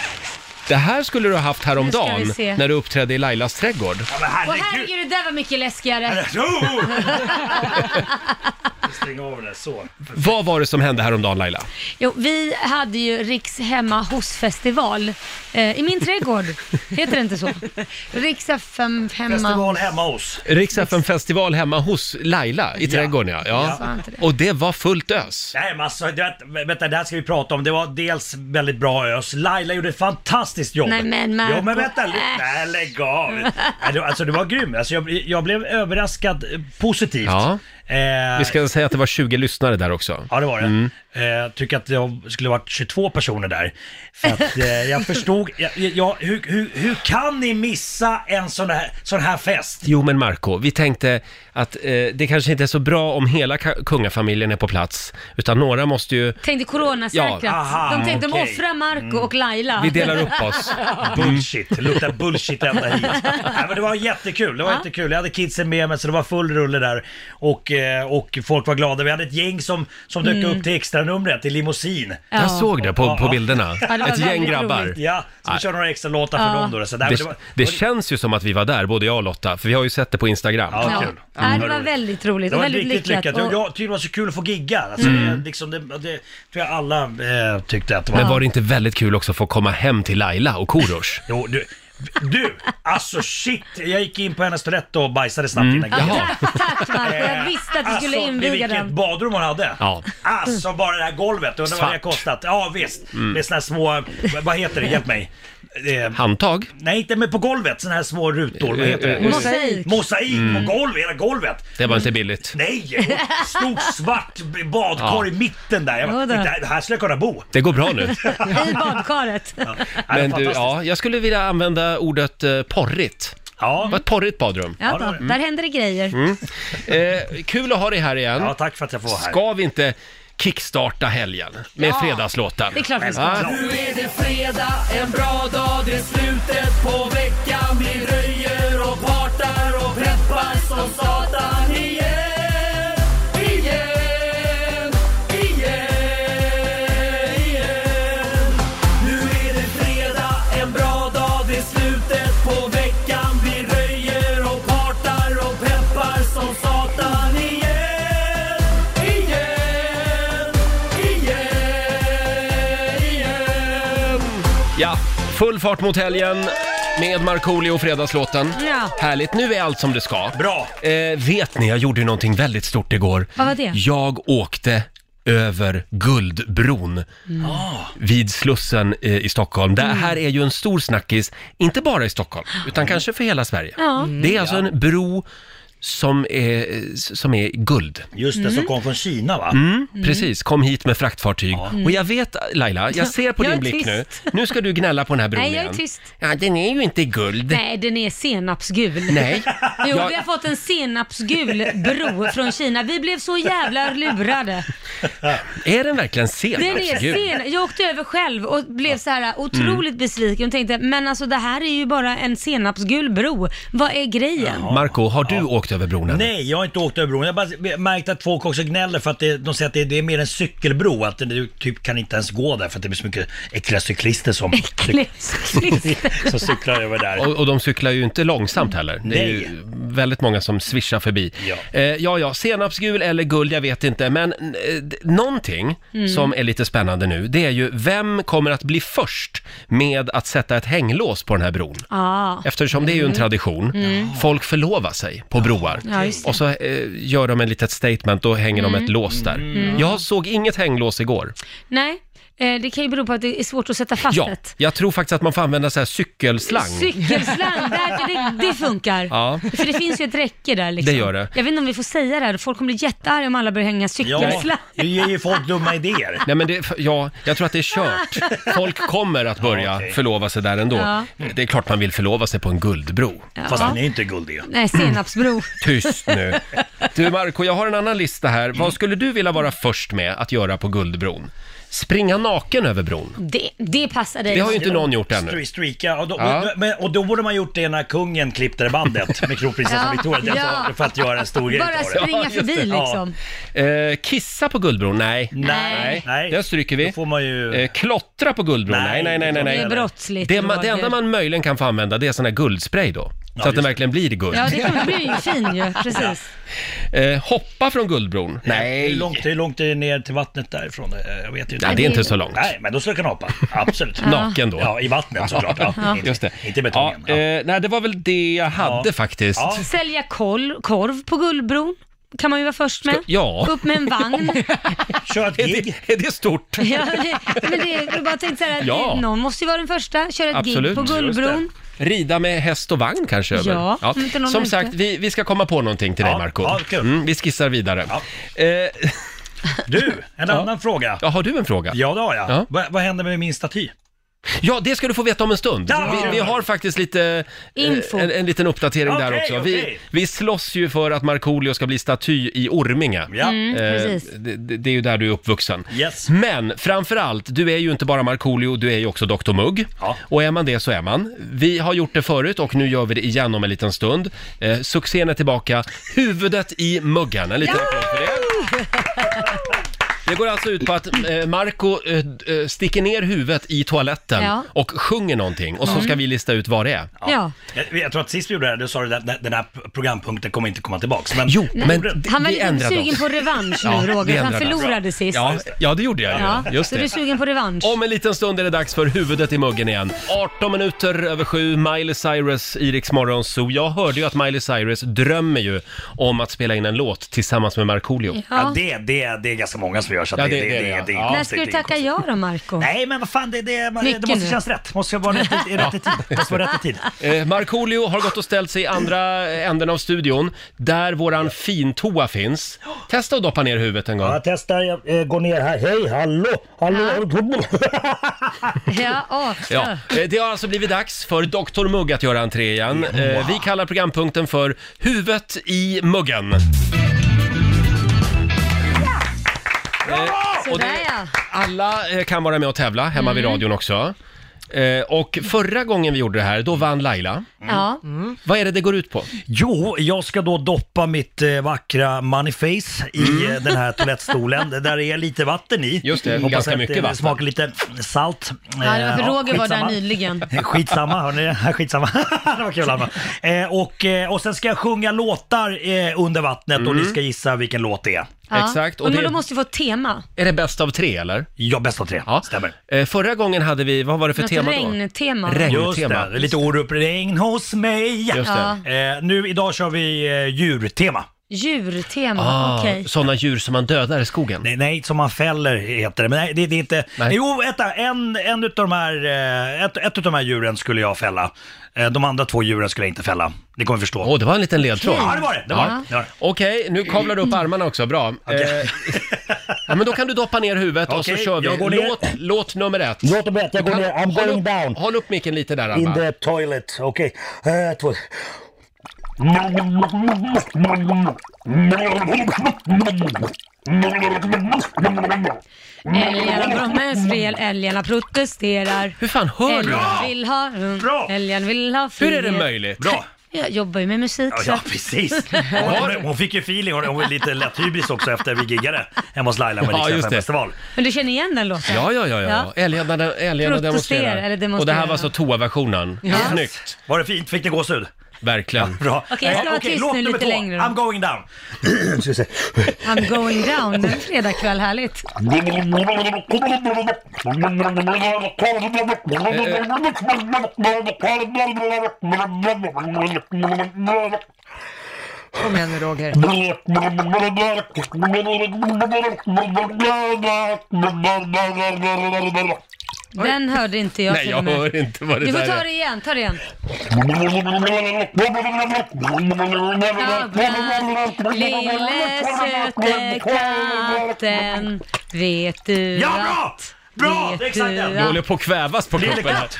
Det här skulle du ha haft
Nu ska
häromdagen
vi se.
när du uppträdde i Lailas trädgård.
Ja, men
Åh
herregud!
herregud, det där var mycket
Äh.
läskigare.
Stäng av den där, så.
Vad var det som hände häromdagen Laila?
Jo, vi hade ju Riks hemma hos-festival eh, i min trädgård. Heter det inte så? Riks FM hemma
Festival hemma hos.
Rix FM festival hemma hos Laila i trädgården ja. ja.
inte det.
Och det var fullt ös.
Nej men alltså, det, vänta det här ska vi prata om. Det var dels väldigt bra ös. Laila gjorde ett fantastiskt jobb.
Nej, men, Marco.
Jo men vänta, li-
Äh.
nej lägg av. Nej, det- Alltså du var grym. Alltså, jag, jag blev överraskad eh, positivt.
Ja.
Eh,
Vi ska säga att det var 20 lyssnare där också.
Ja, det var det.
Mm.
Eh, tycker att det skulle varit 22 personer där. För att eh, jag förstod, jag, jag, hur, hur, hur kan ni missa en sån här, sån här fest?
Jo men Marco, vi tänkte att eh, det kanske inte är så bra om hela ka- kungafamiljen är på plats, utan några måste ju...
Tänkte coronasäkrat.
Ja,
aha,
de tänkte de
okej.
offrar Marco och Laila.
Vi delar upp oss.
Bullshit, det luktar bullshit ända hit. Nej, men det var jättekul, det var jättekul. Jag hade kidsen med mig så det var full rulle där och, eh, och folk var glada. Vi hade ett gäng som, som dök upp till extranumret i limousin.
Ja.
Jag såg det på, på bilderna.
det var
Ett gäng
väldigt
grabbar.
roligt.
Ja, så vi
Nej.
körde några extra låtar för dem då. Så, nej, men
Det, det känns ju som att vi var där, både jag och Lotta, för vi har ju sett det på Instagram.
Ja.
Ja.
kul.
Ja, det var väldigt roligt
Det
och
var
väldigt
riktigt lyckat.
lyckat.
Jag,
Och, Mm.
jag tyckte det var så kul att få gigga. Alltså, det, liksom, det, det tror jag alla eh, tyckte att det var.
Men var det inte väldigt kul också att få komma hem till Laila och Korosh?
Jo, du, du, alltså shit. Jag gick in på hennes toalett och bajsade snabbt innan
Jaha.
gigget.
tack, tack Marco. Mm. Jag visste att du skulle
Eh, alltså, i
inviga
vilket
den.
badrum hon hade.
Ja.
Alltså bara det här golvet, undrar vad det
Svart.
har
Mm.
kostat. Ja visst, det är såna här små, vad heter det, hjälp mig. eh,
Handtag?
Nej, inte men på golvet. Sådana här små rutor. Vad heter det?
Eh, eh,
Mosaik.
Mosaik
Mm.
på golvet, hela golvet.
Det var inte billigt.
Nej! och Stor svart b- badkar
Ja.
i mitten där. Jag bara,
Jodå.
"Titta, här skulle jag kunna bo.
Det går bra nu.
I badkaret.
Men du,
fantastiskt.
ja, jag skulle vilja använda ordet eh, porrigt.
Ja.
Det var ett porrigt badrum.
Ja, då, där händer det grejer.
Mm. Eh, kul att ha dig här igen.
Ja, tack för att jag får vara här.
Ska vi inte kickstarta helgen med fredagslåten?
Det är klart vi ska.
Ja.
Nu är det fredag, en bra dag, det är slutet på veckan Vi röjer och partar och peppar som satan igen Igen, igen, igen Nu är det fredag, en bra dag, det är slutet på veckan Vi röjer och partar och peppar som satan igen Igen, igen, igen
Ja, full fart mot helgen med Markoolio och Fredagslåten.
Ja.
Härligt, nu är allt som det ska.
Bra!
Eh, vet ni, jag gjorde ju någonting väldigt stort igår.
Vad var det?
Jag åkte över Guldbron
Mm.
Ah. vid Slussen eh, i Stockholm. Det här är ju en stor snackis, inte bara i Stockholm, utan kanske för hela Sverige.
Ja.
Det är alltså en bro som är, som är guld.
Just det, som kom från Kina va?
Mm, Precis, kom hit med fraktfartyg. Och jag vet, Laila, jag ser på
Jag
din
är
blick nu.
tyst.
Nu ska du gnälla på den här bron
Nej, jag är
igen.
tyst.
Ja, den är ju inte guld.
Nej, den är senapsgul.
Nej.
Jo,
Jag-
vi har fått en senapsgul bro från Kina. Vi blev så jävla lurade.
Är den verkligen sen?
Den är
Gud.
sen. Jag åkte över själv och blev så
Mm.
här otroligt besviken och tänkte, men alltså det här är ju bara en senapsgul bro. Vad är grejen?
Marco, har du åkt över bron än?
Nej, jag har inte åkt över bron. Jag har bara märkt att folk också gnäller för att det, de säger att det, det är mer en cykelbro. Att du typ kan inte ens gå där för att det blir så mycket äckliga cyklister som,
Klister.
som cyklar över där.
Och, och de cyklar ju inte långsamt heller. Det är
Nej.
ju väldigt många som svischar förbi.
Ja.
Eh, ja, ja, senapsgul eller guld, jag vet inte. Men eh, d- någonting
Mm.
som är lite spännande nu, det är ju vem kommer att bli först med att sätta ett hänglås på den här bron?
Ja.
Eftersom det är ju
Mm.
en tradition. Folk förlovar sig på broar.
Ja, just det. Mm.
och så eh, gör de en litet statement, då hänger de ett lås där.
Mm.
Jag såg inget hänglås igår.
Nej, eh, det kan ju bero på att det är svårt att sätta fast
Ja,
det.
jag tror faktiskt att man får använda så här cykelslang.
Cykelslang, där, det, det funkar.
Ja.
För det finns ju ett räcke där liksom.
Det gör det.
Jag vet inte om vi får säga det här, folk kommer bli jättearga om alla börjar hänga
Ja,
cykelslang.
det ger ju folk dumma idéer.
Nej men det, ja, jag tror att det är kört. Folk kommer att börja
Ja, okej.
förlova sig där ändå.
Ja.
Det är klart man vill förlova sig på en guldbro.
Fast den är inte guld i.
Nej, senapsbro.
Tyst nu. Du Marco, jag har en annan lista här. Vad skulle du vilja vara först med att göra på guldbron? Springa naken över bron.
Det, det passar dig.
Det har ju inte någon gjort ännu.
Stre- Streaka, och då,
Ja.
och- men, och då borde man gjort det när kungen klippte bandet med kronprinsessan
Ja.
Victoria.
Ja.
Alltså, för att göra en stor grej
Bara
av det.
Ja,
springa
just
förbi
det.
Ja.
liksom.
Eh, kissa på guldbron? Nej.
Nej, nej.
Den stryker
Då
vi.
får man ju...
Eh, klottra på guldbron? Nej,
Nej,
nej, nej, nej. nej.
Det är brottsligt.
Det, ma- det
Roger.
enda man möjligen kan få använda det är sån här guldspray då. Så att
just
den
det.
verkligen blir guld.
Ja, det kommer bli ju fin ju. Precis.
Eh, hoppa från guldbron?
Hur
Nej.
långt, hur långt är det ner till vattnet därifrån? Eh, Jag vet ju inte.
Nej, det är inte så långt.
Nej, men då skulle jag kunna hoppa. Absolut.
Naken då.
Ja, i vattnet såklart. Ja.
Just det.
Inte i betongen.
Ja,
Ja.
eh, nej, det var väl det jag hade
Ja.
faktiskt.
Ja.
Sälja kol, korv på Guldbron kan man ju vara först med.
ja.
Upp med en vagn.
Kör ett
Är,
gig.
det, är det stort?
Ja, det, men det, jag bara tänkte så här,
Ja.
det- någon måste ju vara den första. Köra ett
Absolut.
gig på Guldbron.
Rida med häst och vagn kanske över?
Ja, om inte någon
Som
märkte.
sagt, vi, vi ska komma på någonting till dig
Ja,
Marco.
ja, kul.
Mm, vi skissar vidare. Eh,
Du, en annan fråga.
ja, har du en fråga?
Ja, det har jag.
Ja.
Va, vad händer med min staty?
Ja, det ska du få veta om en stund.
Ja!
Vi, vi har faktiskt lite... eh,
Info.
En, en liten uppdatering där
Okej,
också. Vi,
okej.
vi slåss ju för att Markoolio ska bli staty i Orminge.
Ja.
Mm,
Eh,
precis.
det, det det är ju där du är uppvuxen.
Yes.
Men framförallt, du är ju inte bara Markoolio, du är ju också Dr Mugg.
Ja.
Och är man det så är man. Vi har gjort det förut och nu gör vi det igen om en liten stund. Eh, succén är tillbaka. Huvudet i muggen. En liten applåd för det. Det går alltså ut på att eh, Marco eh, d- eh, sticker ner huvudet i toaletten
Ja. Mm.
och sjunger någonting och så ska vi lista ut vad det är.
Ja.
Jag, Eh, jag tror att sist vi gjorde det här, då sa du att den- den här programpunkten kommer inte komma tillbaks. Men
Jo, men d-
Han var
vi
lite
ändrade
sugen
oss.
på revansch
Ja,
nu
vi
Roger, han
ändrade oss.
förlorade sist.
Ja, ja, det gjorde jag ju.
Ja,
Just
så
det.
du är sugen på revansch?
Om en liten stund är det dags för huvudet i muggen igen. 18 minuter över sju, Miley Cyrus i Rix Morgon Zoo. Jag hörde ju att Miley Cyrus drömmer ju om att spela in en låt tillsammans med Markoolio.
ja, det, det, det är ganska många som gör. Så att
Ja,
det,
det-
det, det,
det-
det,
ja.
det,
Ja.
När ska du tacka ja då, Marco?
Nej, men vad fan, det, det, man, det
Mycket
måste
nu.
kännas rätt. Måste vara rätt, i- rätt i tid. Måste vara rätt i tid.
Eh, Markoolio har gått och ställt sig i andra änden av studion, där våran fintoa finns. Testa att doppa ner huvudet en gång.
Jag testar, jag eh, går ner här. Hej, hallå, hallå.
Ja, åh,
Ja, eh, det har alltså blivit dags för Dr. Mugg att göra entré igen. Eh, Vi kallar programpunkten för Huvudet i muggen. Eh, Och
Sådär
det,
ja. Mm.
alla eh, kan vara med och tävla hemma vid radion också. Eh, Och förra gången vi gjorde det här, då vann Laila. Mm.
ja.
Vad är det det går ut på?
Jo, jag ska då doppa mitt eh, vackra moneyface i eh, den här toalettstolen. Det där är lite vatten i.
Just det,
Hoppas
ganska
att
mycket
det
vatten.
smakar lite salt.
Ja, det var för
Eh,
Roger var där
skitsamma.
nyligen.
Skitsamma, hörni. Skitsamma. det var kul Alma. Eh, och, eh, och sen ska jag sjunga låtar eh, under vattnet och ni ska gissa vilken låt det är.
Ja.
Exakt, och
Och men
det-
då måste vi få ett tema.
Är det bäst av tre eller?
Ja, bäst av tre.
Ja.
Stämmer.
Eh, Förra gången hade vi, vad var det för
Något
tema då?
regntema.
Regn.
Just
Tema.
det, lite Orup regn hos mig.
Just det.
Eh, nu idag kör vi eh, djurtema.
Djurtema,
Ah,
okej.
Sådana djur som man dödar i skogen.
Nej, nej, som man fäller heter det. Men nej, det, det är inte...
Nej.
Jo, vänta, en, en utav de här, eh, ett, ett av de här djuren skulle jag fälla. Eh, De andra två djuren skulle jag inte fälla. Ni kommer förstå.
Åh, det var en liten ledtråd.
Ja, det var det. det, var det. det, var det.
Okej, nu kavlar du upp armarna också, bra. Eh, ja, men då kan du doppa ner huvudet och så
Okej,
kör vi.
jag går ner.
Låt, låt nummer ett.
Låt dem berätta, jag
Du
går
kan-
ner. I'm
håll
going
upp,
down.
Håll upp micken lite där,
In
Alma.
the toilet, okej. Eh, två.
Älgarna Brommes fel, älgarna protesterar.
Hur fan hör du?
Älgarna vill ha
Bra!
rum, älgarna vill ha
Hur
frihet.
är det möjligt?
Bra!
Jag jobbar ju med musik
Ja,
så.
ja precis. Hon, hon, hon fick ju feeling, hon, hon var lite lätt hybris också efter vi giggade hemma hos Laila på
Ja,
Rix
just det.
festival
Men du känner igen den låten?
Ja, ja, ja. Eh. ja.
Ja.
Älgarna, älgarna
Protesterar
demonstrerar.
eller demonstrerar.
Och det här var alltså toa-versionen. Snyggt,
Var det fint? Fick ni gåshud?
verkligen.
Bra.
Okej, jag ska
Eh,
vara
okej,
tyst
låt
nu
nummer
lite
två.
längre då.
I'm going down. Ska vi se.
I'm going down, en fredagkväll, härligt.
Kom igen nu Roger.
Den hörde inte jag
Nej,
till
jag
och med.
hör inte vad det
Du får
där
ta
är.
det igen, ta det igen. Lille söte katten, vet du
Ja,
att-
bra! Bra!
Vet
Det är exakt
du
Du
den.
att-
håller på att kvävas på
Lille
kroppen här.
katt.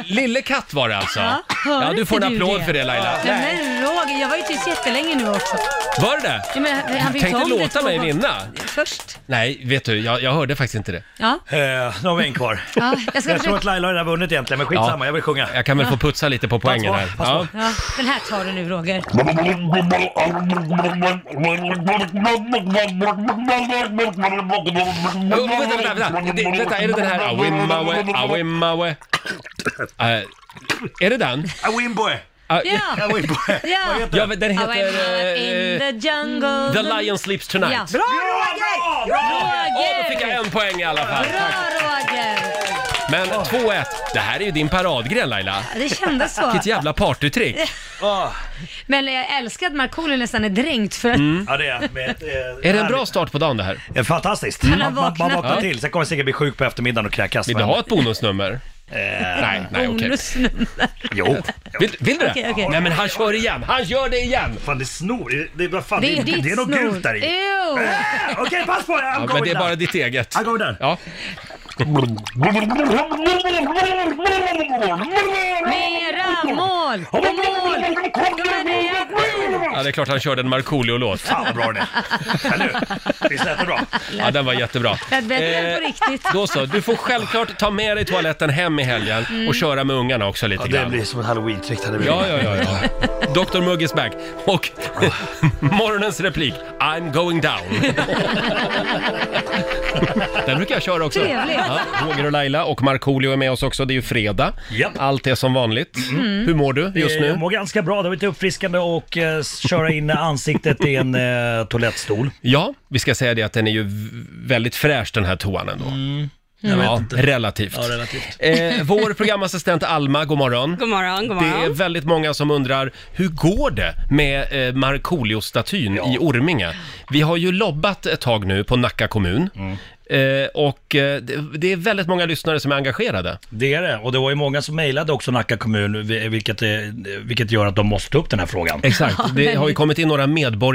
Eh, lille katt var det alltså.
Ja, hör
Ja, du
inte
får en
du
applåd
det?
för det Laila.
Ja, men Roger, jag var ju tyst jättelänge nu också.
Var det det?
Ja, men han-
Du
han fick ta
tänkte
om det
låta
två
mig
gånger.
vinna.
Först.
Nej, vet du, jag, jag hörde faktiskt inte det.
Ja.
Eh, Nu har vi en kvar.
ja jag ska
Jag tror
försöka.
att Laila har redan vunnit egentligen, men skitsamma,
Ja.
jag vill sjunga.
Jag kan väl få putsa lite på poängen
på,
här.
pass
Ja.
Ja, den här tar du nu Roger.
Oh, vänta, vänta, vänta. Det, vänta, är det den här Awimawe, Awimawe? Eh, är det den?
A Wimboy!
Ah,
Ja!
A Wimboy!
Ja.
Vad heter
ja,
den?
men den
I'm
heter...
out in
eh,
the jungle.
The Lion Sleeps
Ja.
Tonight.
Bra
Bra! Bra!
Åh, då fick jag
Roger!
en poäng i alla fall.
Bra Roger!
Men 2-1. Det här är ju din paradgren Laila.
Ja, Det kändes så.
Vilket jävla partytrick.
Ah,
Men jag älskar att Markoolio nästan är dränkt för att
Mm.
Ja, det är, med,
Är det en bra start på dagen det här?
Eh, Fantastiskt.
Han har
Man, man, man
vaknat.
vaknar
Ja.
till. Sen kommer jag säkert bli sjuk på eftermiddagen och kräkas.
Vill du
men- eh,
ha ett bonusnummer? Nej, nej okej.
bonusnummer.
Jo.
Vill, vill du det?
Okej, okej.
Nej men han kör igen, han gör det igen!
Fan, det är snor. Det är, vad fan,
Det
det
är
är,
ditt
det är något
snor. Eh.
gult där i.
Ew.
Ah, Okej, pass på! I'm
Ja,
going
men det är
down.
bara ditt eget.
I'm going down.
Ja.
Mera mål! Och mål!
ja, det är klart han körde en Markoolio-låt.
Fan vad bra den är. Eller hur? Visst lät det bra?
Ja, den var jättebra. Eh,
Det är bättre än på riktigt.
Då så, du får självklart ta med dig toaletten hem i helgen
Mm.
och köra med ungarna också lite
Det
grann.
blir som en halloween-trick. det blir-
Ja, ja, ja, ja. Dr Mugg is back. Och morgonens replik, I'm going down. Den brukar jag köra också.
Trevligt.
Ja, Roger och Laila och Markoolio är med oss också. Det är ju fredag.
Japp.
Allt är som vanligt.
Mm.
Hur mår du just
Eh, Jag
nu?
mår ganska bra. Det var lite uppfriskande och eh, s- köra in ansiktet i en eh, toalettstol.
Ja, vi ska säga det att den är ju v- väldigt fräsch den här toan ändå. Ja,
Mm. Jag vet
men, relativt.
Ja, relativt.
Eh, vår programassistent Alma, god morgon.
God morgon, god
Det är
morgon.
väldigt många som undrar, hur går det med eh, Markoolio-statyn i Orminge? Vi har ju lobbat ett tag nu på Nacka kommun.
Mm.
Eh, och eh, det, det är väldigt många lyssnare som är engagerade.
Det är det, och det var ju många som mejlade också Nacka kommun, vi- vilket, eh, vilket gör att de måste ta upp den här frågan.
Exakt, det har ju kommit in några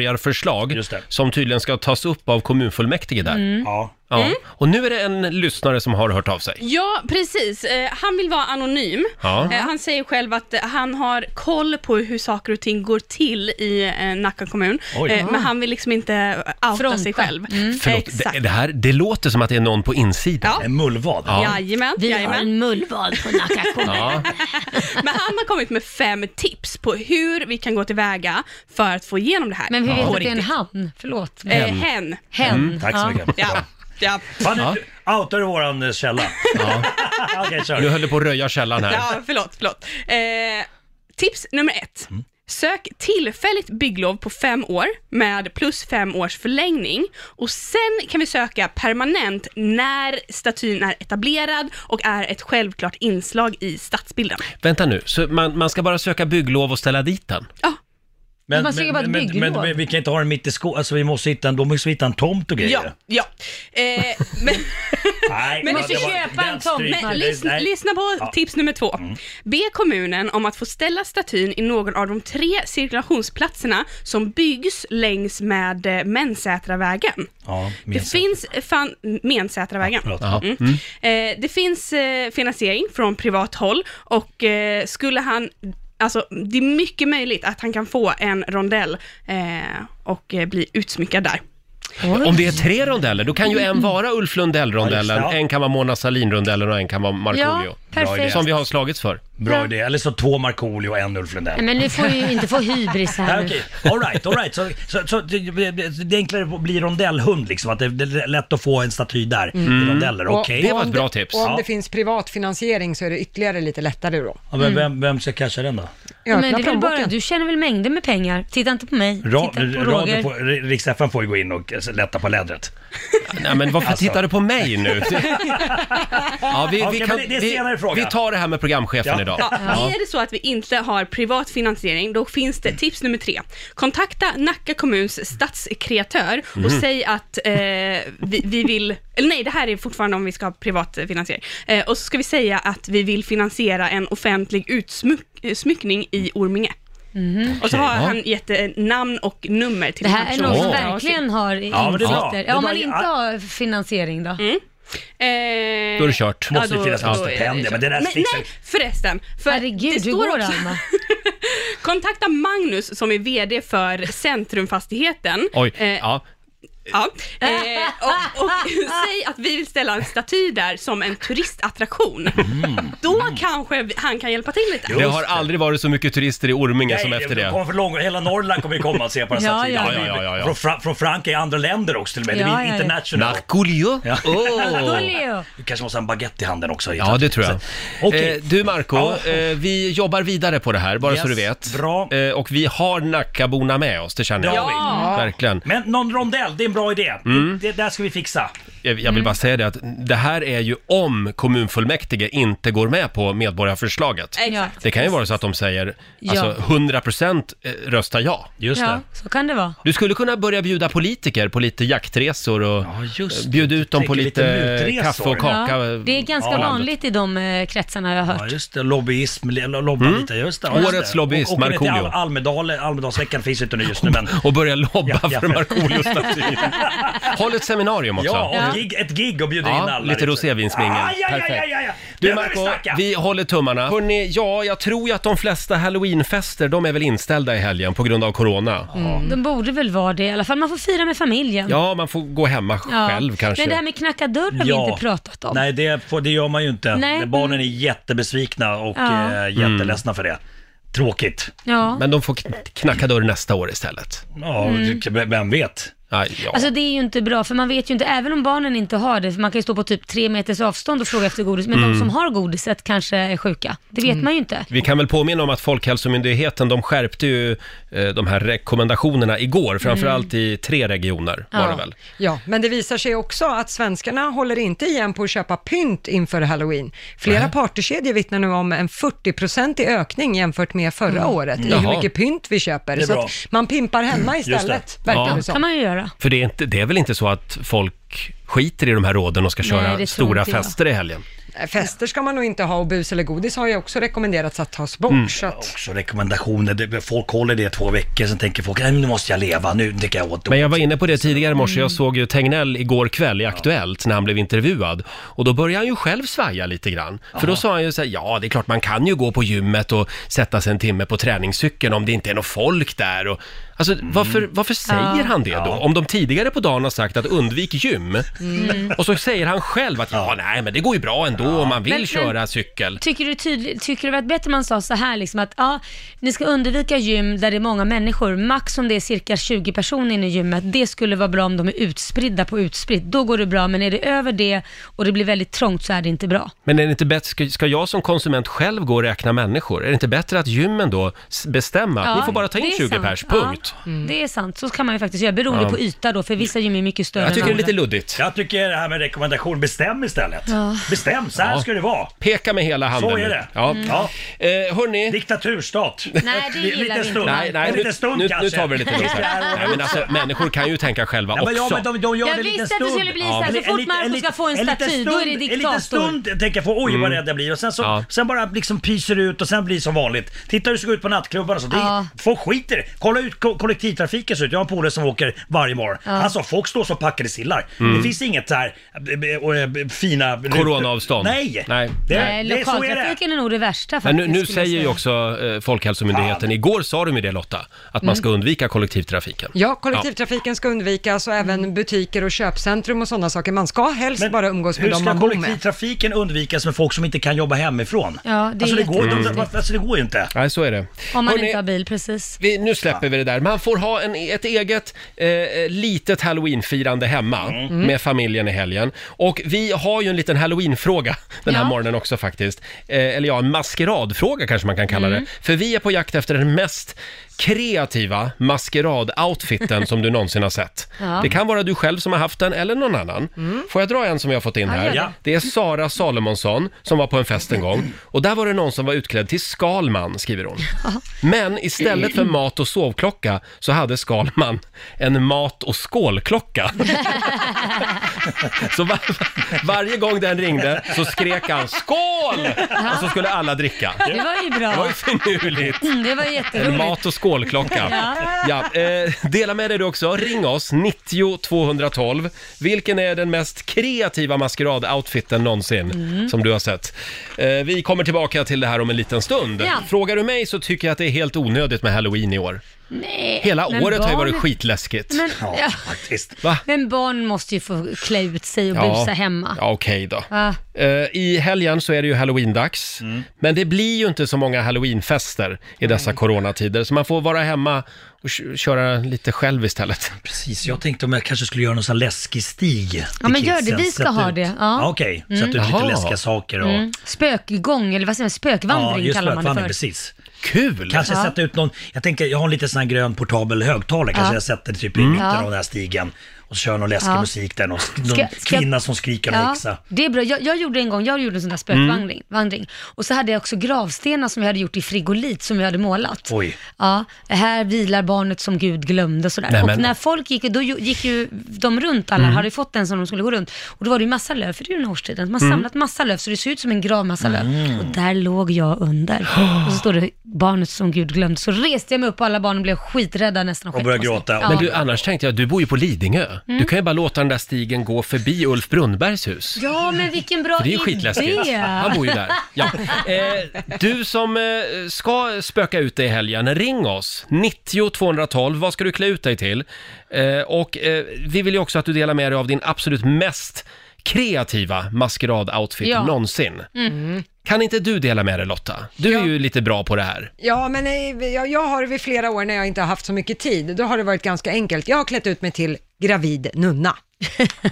medborgarförslag som tydligen ska tas upp av kommunfullmäktige där.
Mm.
Ja.
Ja.
Mm.
Och nu är det en lyssnare som har hört av sig.
Ja, precis. Eh, han vill vara anonym.
Ja.
Eh, han säger själv att eh, han har koll på hur saker och ting går till i eh, Nacka kommun,
Oj. Ah. Mm.
eh, men han vill liksom inte outa sig själv.
Förlåt,
Exakt.
det, det, här, det låter som att det är någon på insidan.
Ja.
En
mullvad?
Jajamän,
Vi har
jajamän.
en mullvad på Nacka kommun.
Ja.
Men han har kommit med fem tips på hur vi kan gå tillväga för att få igenom det här.
Men vi vet
På
att det är en
riktigt.
han, förlåt.
Eh, hen.
Hen.
Mm, tack så mycket.
Ja. Ja.
Fan, nu outar du våran eh, källa.
Ja.
Okej, kör.
Nu höll du på att röja källan här.
Ja, förlåt, förlåt. Eh, tips nummer ett. Sök tillfälligt bygglov på fem år med plus fem års förlängning och sen kan vi söka permanent när statyn är etablerad och är ett självklart inslag i stadsbilden.
Vänta nu, så man, man ska bara söka bygglov och ställa dit den?
Men,
Man ska ju vara ett
men, men,
bygglov.
men vi kan inte ha den mitt i skogen, alltså vi måste hitta en, då måste vi hitta en tomt och grejer.
Ja, ja. Eh, men
Nej,
men
det var- den stryker
Men
vi.
lyssna,
Nej.
lyssna på
Ja. Mm.
tips nummer två. Be kommunen om att få ställa statyn i någon av de tre cirkulationsplatserna som byggs längs med eh, Mensätravägen.
Ja,
Det
minst.
finns, fan, Mensätravägen.
förlåt.
Mm.
Ja.
Eh, det finns eh, finansiering från privat håll och eh, skulle han Alltså, det är mycket möjligt att han kan få en rondell eh, och eh, bli utsmyckad där.
Om det är tre rondeller, då kan ju en vara Ulf Lundell-rondellen,
Mm. Ja, just det.
en kan vara Mona Sahlin-rondellen och en kan vara
Ja,
Markoolio.
perfekt. Bra idé.
som vi har slagits för.
Bra idé, eller så två Markoolio och en Ulf Lundell.
Nej, Men nu får vi ju inte få hybris här
Nej,
nu.
Okej, alright, alright. Så, så, så det, det- det är enklare att bli rondellhund liksom, att det, det är lätt att få en staty där
Mm.
i rondeller.
Och-
Okej.
och om Och om
Ja.
det finns privat finansiering så är det ytterligare lite lättare då.
Ja, men vem, vem ska casha den då?
Ja,
men det är väl
plånboken.
bara, du tjänar väl mängder med pengar? Titta inte på mig,
Ra-
titta på
radio
Roger.
på- R- Rix FM får ju gå in och eh, lätta på lädret.
Nej, men varför
Alltså.
tittar du på mig nu? Ja, vi,
Okej,
vi,
men
kan,
det- det är
vi,
senare fråga.
vi tar det här med programchefen
Ja.
idag.
Ja.
Ja.
Är det så att vi inte har privat finansiering, då finns det tips nummer tre. Kontakta Nacka kommuns stadskreatör och
Mhm.
säg att eh, vi, vi vill, eller nej, det här är fortfarande om vi ska ha privat eh, finansiering. Eh, och så ska vi säga att vi vill finansiera en offentlig utsmyckning i Orminge. Och så har
Okej.
han gett eh, namn och nummer till
Mhm. Det här är
personen.
någon som verkligen har
Ja, men det är bra.
insikter.
Det är
Ja, om
bra.
man inte har finansiering då?
Mm. Eh,
Då är det kört.
Måste ju finnas något stipendium, men det där
nej,
fixar vi.
förresten. För Herregud, det
hur
står
går det,
också... Kontakta Magnus som är VD för Centrumfastigheten.
Oj,
Eh,
ja.
ja. Eh, och, och säg att vi vill ställa en staty där som en turistattraktion.
Mm.
Då kanske vi- han kan hjälpa till lite.
Det har aldrig varit så mycket turister i Orminge som efter det.
Kommer för lång, hela Norrland kommer ju komma och se på den
Ja,
statyn.
ja, ja, ja, ja, ja.
Från, Fra- från Frankrike, andra länder också till och med. det
Ja,
blir
ja, ja.
international.
Markoolio?
Ja.
Markoolio.
Du kanske måste ha en baguette i handen också.
Ja, det tror jag.
Okej.
Eh, du Marco,
Ja.
eh, vi jobbar vidare på det här, bara så
Yes,
du vet.
bra.
Eh, och vi har Nackaborna med oss, det känner jag.
Ja.
Verkligen.
Men någon rondell, det är en bra idé.
Mm.
Det där ska vi fixa.
Jag jag vill
Mm.
bara säga det att det här är ju om kommunfullmäktige inte går med på medborgarförslaget.
Exakt.
Det kan ju vara så att de säger,
Ja.
alltså 100% eh, röstar ja.
Just
Ja, så kan det vara.
Du skulle kunna börja bjuda politiker på lite jaktresor och eh, bjuda ut dem på
Tänker
lite,
lite mutresor.
kaffe och kaka.
Ja, det är ganska
Ja, landet.
vanligt i de eh, kretsarna jag har hört.
Ja, just det. Lobbyism, le- lo- lobba
Mm.
lite. Just det. Ja,
Årets
just det.
lobbyist,
Och- och åker ner till
Markoolio.
Al- Almedal, Almedalsveckan finns ju inte nu just nu, men...
Och börja lobba
ja.
för Markoolio-statyn. Håll ett seminarium också.
Ja, och Gig, ett gig och bjuda in alla.
lite
liksom.
rosévinsmingel.
Ah, ja, ja, ja,
Perfekt.
ja, ja.
Du
Det behöver vi
Marco,
snacka.
vi håller tummarna. Hörrni, ja, jag tror ju att de flesta halloweenfester, de är väl inställda i helgen på grund av corona.
Mm. De borde väl vara det i alla fall. Man får fira med familjen.
Ja, man får gå hemma
Ja.
själv kanske.
Men det här med knacka dörr har vi inte pratat om.
Nej, det, får, det gör man ju inte.
Nej.
Nej. Barnen är jättebesvikna och
Ja.
eh,
Mm.
jätteledsna för det. Tråkigt.
Ja.
Men de får kn- knacka dörr nästa år istället.
Ja,
Mm.
det- vem vet?
Nej, ja.
Alltså det är ju inte bra, för man vet ju inte, även om barnen inte har det, för man kan ju stå på typ tre meters avstånd och fråga efter godis, men
Mm.
de som har godiset kanske är sjuka. Det vet man ju inte.
Vi kan väl påminna om att Folkhälsomyndigheten, de skärpte ju eh, de här rekommendationerna igår,
Mm.
framförallt i tre regioner var det väl.
Ja, men det visar sig också att svenskarna håller inte igen på att köpa pynt inför halloween. Flera partykedjor vittnar nu om en 40-procentig ökning jämfört med förra
Mm.
året i hur
Jaha.
mycket pynt vi köper.
Det är
Så
bra. Mm,
att man pimpar hemma
Just det.
istället, verkar
Ja.
det som.
Kan
man ju göra.
För det är, inte, det är väl inte så att folk skiter i de här råden och ska
Nej,
köra
det tror
stora
inte jag.
fester i helgen?
Fester ska man nog inte ha och bus eller godis har ju också rekommenderats att tas bort.
Mm.
Så att...
Så rekommendationer, det, folk håller det i två veckor, sen tänker folk "Nej, men nu måste jag leva, nu tycker jag åt
Men jag var inne på det tidigare i morse, jag såg ju Tegnell igår kväll i Aktuellt när han blev intervjuad. Och då började han ju själv svaja lite grann. För då sa han ju så här, ja det är klart man kan ju gå på gymmet och sätta sig en timme på träningscykeln om det inte är något folk där. Och, alltså varför, varför säger
Ja.
han det då? Om de tidigare på dagen har sagt att undvik gym.
Mm.
Och så säger han själv att ja nej men det går ju bra ändå om man vill
Men- men-
köra cykel.
Tycker du, tydlig, tycker du det var bättre om man sa så här liksom att ja, ni ska undvika gym där det är många människor, max om det är cirka 20 personer inne i gymmet, det skulle vara bra om de är utspridda på utspritt, då går det bra, men är det över det och det blir väldigt trångt så är det inte bra.
Men är det inte bättre, ska- ska jag som konsument själv gå och räkna människor? Är det inte bättre att gymmen då s- bestämmer?
Ja,
Ni får bara ta in
det är
20
sant.
pers,
Ja, Mm.
punkt.
Det är sant, så kan man ju faktiskt göra, beroende
Ja.
på yta då, för vissa gym är mycket större
Jag tycker det är
än
lite luddigt.
Jag tycker det här med rekommendation, bestäm istället.
Ja.
Bestäm, så här
Ja.
ska det vara.
Peka med hela handen
Så
nu.
är det.
Ja.
Mm.
Ja. Eh, hörni...
Diktaturstat.
Nej, det
Li-
gillar
lite
vi
stund.
inte.
Nej, nej,
En
nu,
liten stund
nu, nu
kanske.
tar vi det lite lugnt här. Nej, men alltså, människor kan ju tänka själva
Ja, men ja,
också.
men de, de gör
Jag
det en liten
visste att det
stund.
skulle bli så här. Så
En
fort
liten-
Marco
en liten-
ska få en
liten
staty, då är det
En liten
diktator.
stund tänker jag på, oj vad
Mm.
rädd jag blir. Och sen, så, sen bara liksom pyser det ut och sen blir som vanligt. Titta hur det såg ut på nattklubbarna och så. Det,
Ja.
Folk skiter i det. Kolla ut ko- kollektivtrafiken ser ut. Jag har en polare som åker varje morgon.
Ja.
Han sa folk står som packade sillar.
Mm.
Det finns inget så här eh, eh, och, eh, fina... rutor.
Coronaavstånd.
Nej!
Nej.
Det,
Nej,
det, så är det.
lokaltrafiken är nog det värsta
Men nu,
faktiskt.
nu
skulle jag
säger ju
säga.
också eh, Folkhälsomyndigheten, igår sa de ju det Lotta, att man
Mm.
ska undvika kollektivtrafiken.
Ja, kollektivtrafiken ska undvikas och
Mm.
även butiker och köpcentrum och sådana saker. Man ska helst bara umgås med
Hur
dem
ska
man bor med.
kollektivtrafiken undvikas med folk som inte kan jobba hemifrån?
Ja, det är
alltså, det går, de,
jättekonstigt.
alltså det går ju inte.
Nej, så är det.
Om man
Hörrni,
inte har bil, precis.
vi, nu släpper vi det där. Man får ha en, ett eget eh, litet halloweenfirande hemma
Mm.
med familjen i helgen. Och vi har ju en liten halloweenfråga den här
Ja.
morgonen också faktiskt. Eh, eller ja, en maskeradfråga kanske man kan kalla
Mm.
det. För vi är på jakt efter den mest kreativa maskeradoutfiten som du någonsin har sett.
Ja.
Det kan vara du själv som har haft den eller någon annan.
Mm.
Får jag dra en som vi har fått in
Ja,
här?
gör det.
Det är Sara Salomonsson som var på en fest en gång. Och där var det någon som var utklädd till Skalman, skriver hon. Men istället för mat och sovklocka så hade Skalman en mat och skålklocka. så var, varje gång den ringde så skrek han skål! Och så skulle alla dricka.
Det var ju bra.
Det var ju finurligt.
Mm, det var
En
jätteroligt.
mat och skålklocka. Ja. eh, dela med dig du också. Ring oss, 90 212. Vilken är den mest kreativa maskerad-outfiten någonsin
Mm.
som du har sett? Eh, vi kommer tillbaka till det här om en liten stund.
Ja.
Frågar du mig så tycker jag att det är helt onödigt med halloween i år.
Nej,
Hela
men
året har ju varit
barn-
skitläskigt.
Men, ja.
faktiskt.
Va?
men barn måste ju få klä ut sig och busa hemma. Ah.
Ja, okej då.
Ja.
Eh, I helgen så är det ju halloween-dags. Men det blir ju inte så många halloweenfester i dessa coronatider, så man får vara hemma och kö- köra lite själv istället.
Precis, jag tänkte om jag kanske skulle göra någon sån här läskig stig. till
Ja, men gör det.
kidsen.
Vi ska
Sätt
ha
ut-
det. Ja.
Okej,
Mm.
sätt ut lite
Jaha.
läskiga saker och...
Mm. Spökgång, eller vad säger man, spökvandring
just
kallar man det
spökvandring,
för.
precis.
Kul!
Kanske
Ja.
sätta ut någon, jag tänker, jag har en liten sån här grön portabel högtalare, kanske
Ja.
jag sätter typ i
Mm.
mitten
Ja.
av den här stigen och så kör någon läskig
Ja.
musik där, någon, någon
Ska- ska-
kvinna som skriker och häxa.
det är bra. Jag, jag gjorde en gång, jag gjorde en sån där spökvandring. Vandring. Och så hade jag också gravstenar som jag hade gjort i frigolit som jag hade målat.
Oj.
Ja, här vilar barnet som Gud glömde och sådär.
Nej,
och
men-
när folk gick, då ju- gick ju de runt alla,
Mm.
hade ju fått den som de skulle gå runt. Och då var det ju massa löv, för det är ju den här årstiden. Man har
Mm.
samlat massa löv, så det ser ut som en grav massa löv.
Mm.
Och där låg jag under. Och så står det barnet som Gud glömde. Så reste jag mig upp och alla barnen blev skiträdda nästan. sket på sig. Ja. Mm.
Men du, annars tänkte jag, du bor ju på Lidingö. Du kan ju bara låta den där stigen gå förbi Ulf Brunnbergs hus.
Ja, men vilken bra
För det är ju
idé.
skitläskigt. Han bor ju där. Ja. Eh, du som eh, ska spöka ut dig i helgen, ring oss. 90 212, vad ska du klä ut dig till? Eh, och eh, vi vill ju också att du delar med dig av din absolut mest kreativa maskerad-outfit
Ja.
någonsin.
Mm.
Kan inte du dela med dig Lotta? Du är ju lite bra på det här.
Ja, men eh, jag, jag har vid flera år när jag inte har haft så mycket tid, då har det varit ganska enkelt. Jag har klätt ut mig till gravid nunna.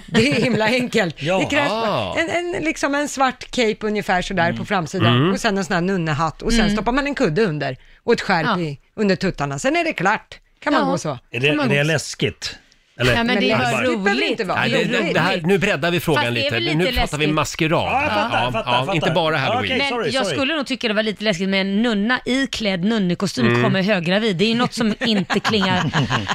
Det är himla enkelt.
Ja.
Det krävs
Ah.
bara en, en, liksom en svart cape ungefär sådär på framsidan
Mm.
och sen en sån här nunnehatt och sen
Mm.
stoppar man en kudde under och ett skärp
Ja.
i, under tuttarna. Sen är det klart. Kan man gå så?
Är det, är det läskigt? Eller?
Ja, men det är
Alvar?
roligt. Det behöver inte vara
Nej, det, det, det här, nu breddar vi
Fast
frågan
det är
lite.
väl
Nu
lite
pratar vi
läskigt.
maskerad.
Ja, jag fattar, jag fattar, jag fattar.
Inte bara
Ja,
halloween.
okej, Men jag skulle nog tycka det var lite läskigt med en nunna iklädd nunnekostym
Mm.
kommer höggravid. Det är ju något som inte klingar.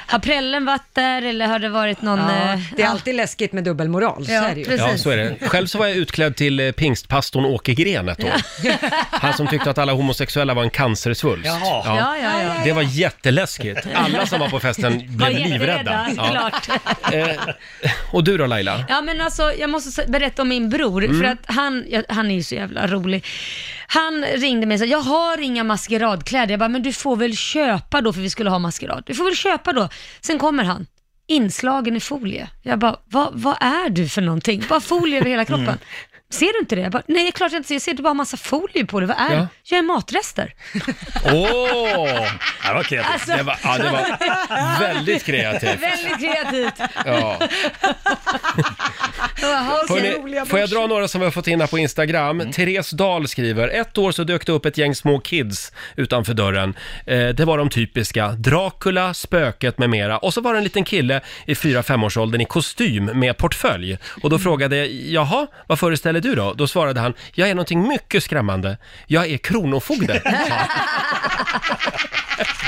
Har prällen varit där eller har det varit någon...
eh,
eh,
Ja,
det är alltid
läskigt med dubbelmoral,
ja,
så är det ju.
Ja, så är det. Själv så var jag utklädd till eh, pingstpastorn Åke Gren ett år. Han som tyckte att alla homosexuella var en cancersvulst.
Jaha. Ja, ja, ja.
Det var jätteläskigt. Alla som var på festen
Var
blev livrädda.
jätterädda,
Ja.
Klart.
Eh, och du då Laila?
Ja men alltså jag måste s- berätta om min bror
Mm.
för att han, ja, han är ju så jävla rolig. Han ringde mig och sa, jag har inga maskeradkläder. Jag bara, men du får väl köpa då för vi skulle ha maskerad. Du får väl köpa då. Sen kommer han, inslagen i folie. Jag bara, vad, vad är du för någonting? Bara folie över hela kroppen.
Mm.
Ser du inte det? Jag bara, Nej, klart jag inte ser. Jag ser du bara massa folie på det. Vad är
Ja.
det? Jag är matrester.
Åh! Det var kreativt.
Alltså-
Det var, ja, det var väldigt kreativt.
Väldigt kreativt.
Ja.
Jag bara, "Jaha, okej."
Hörrni, får jag dra några som vi har fått in här på Instagram? Therese Dahl skriver, ett år så dök det upp ett gäng små kids utanför dörren. Eh, det var de typiska, Dracula, spöket med mera. Och så var det en liten kille i 4-5-årsåldern i kostym med portfölj. Och då frågade jag, jaha, vad föreställer du då? Då svarade han, jag är någonting mycket skrämmande. Jag är kronofogde.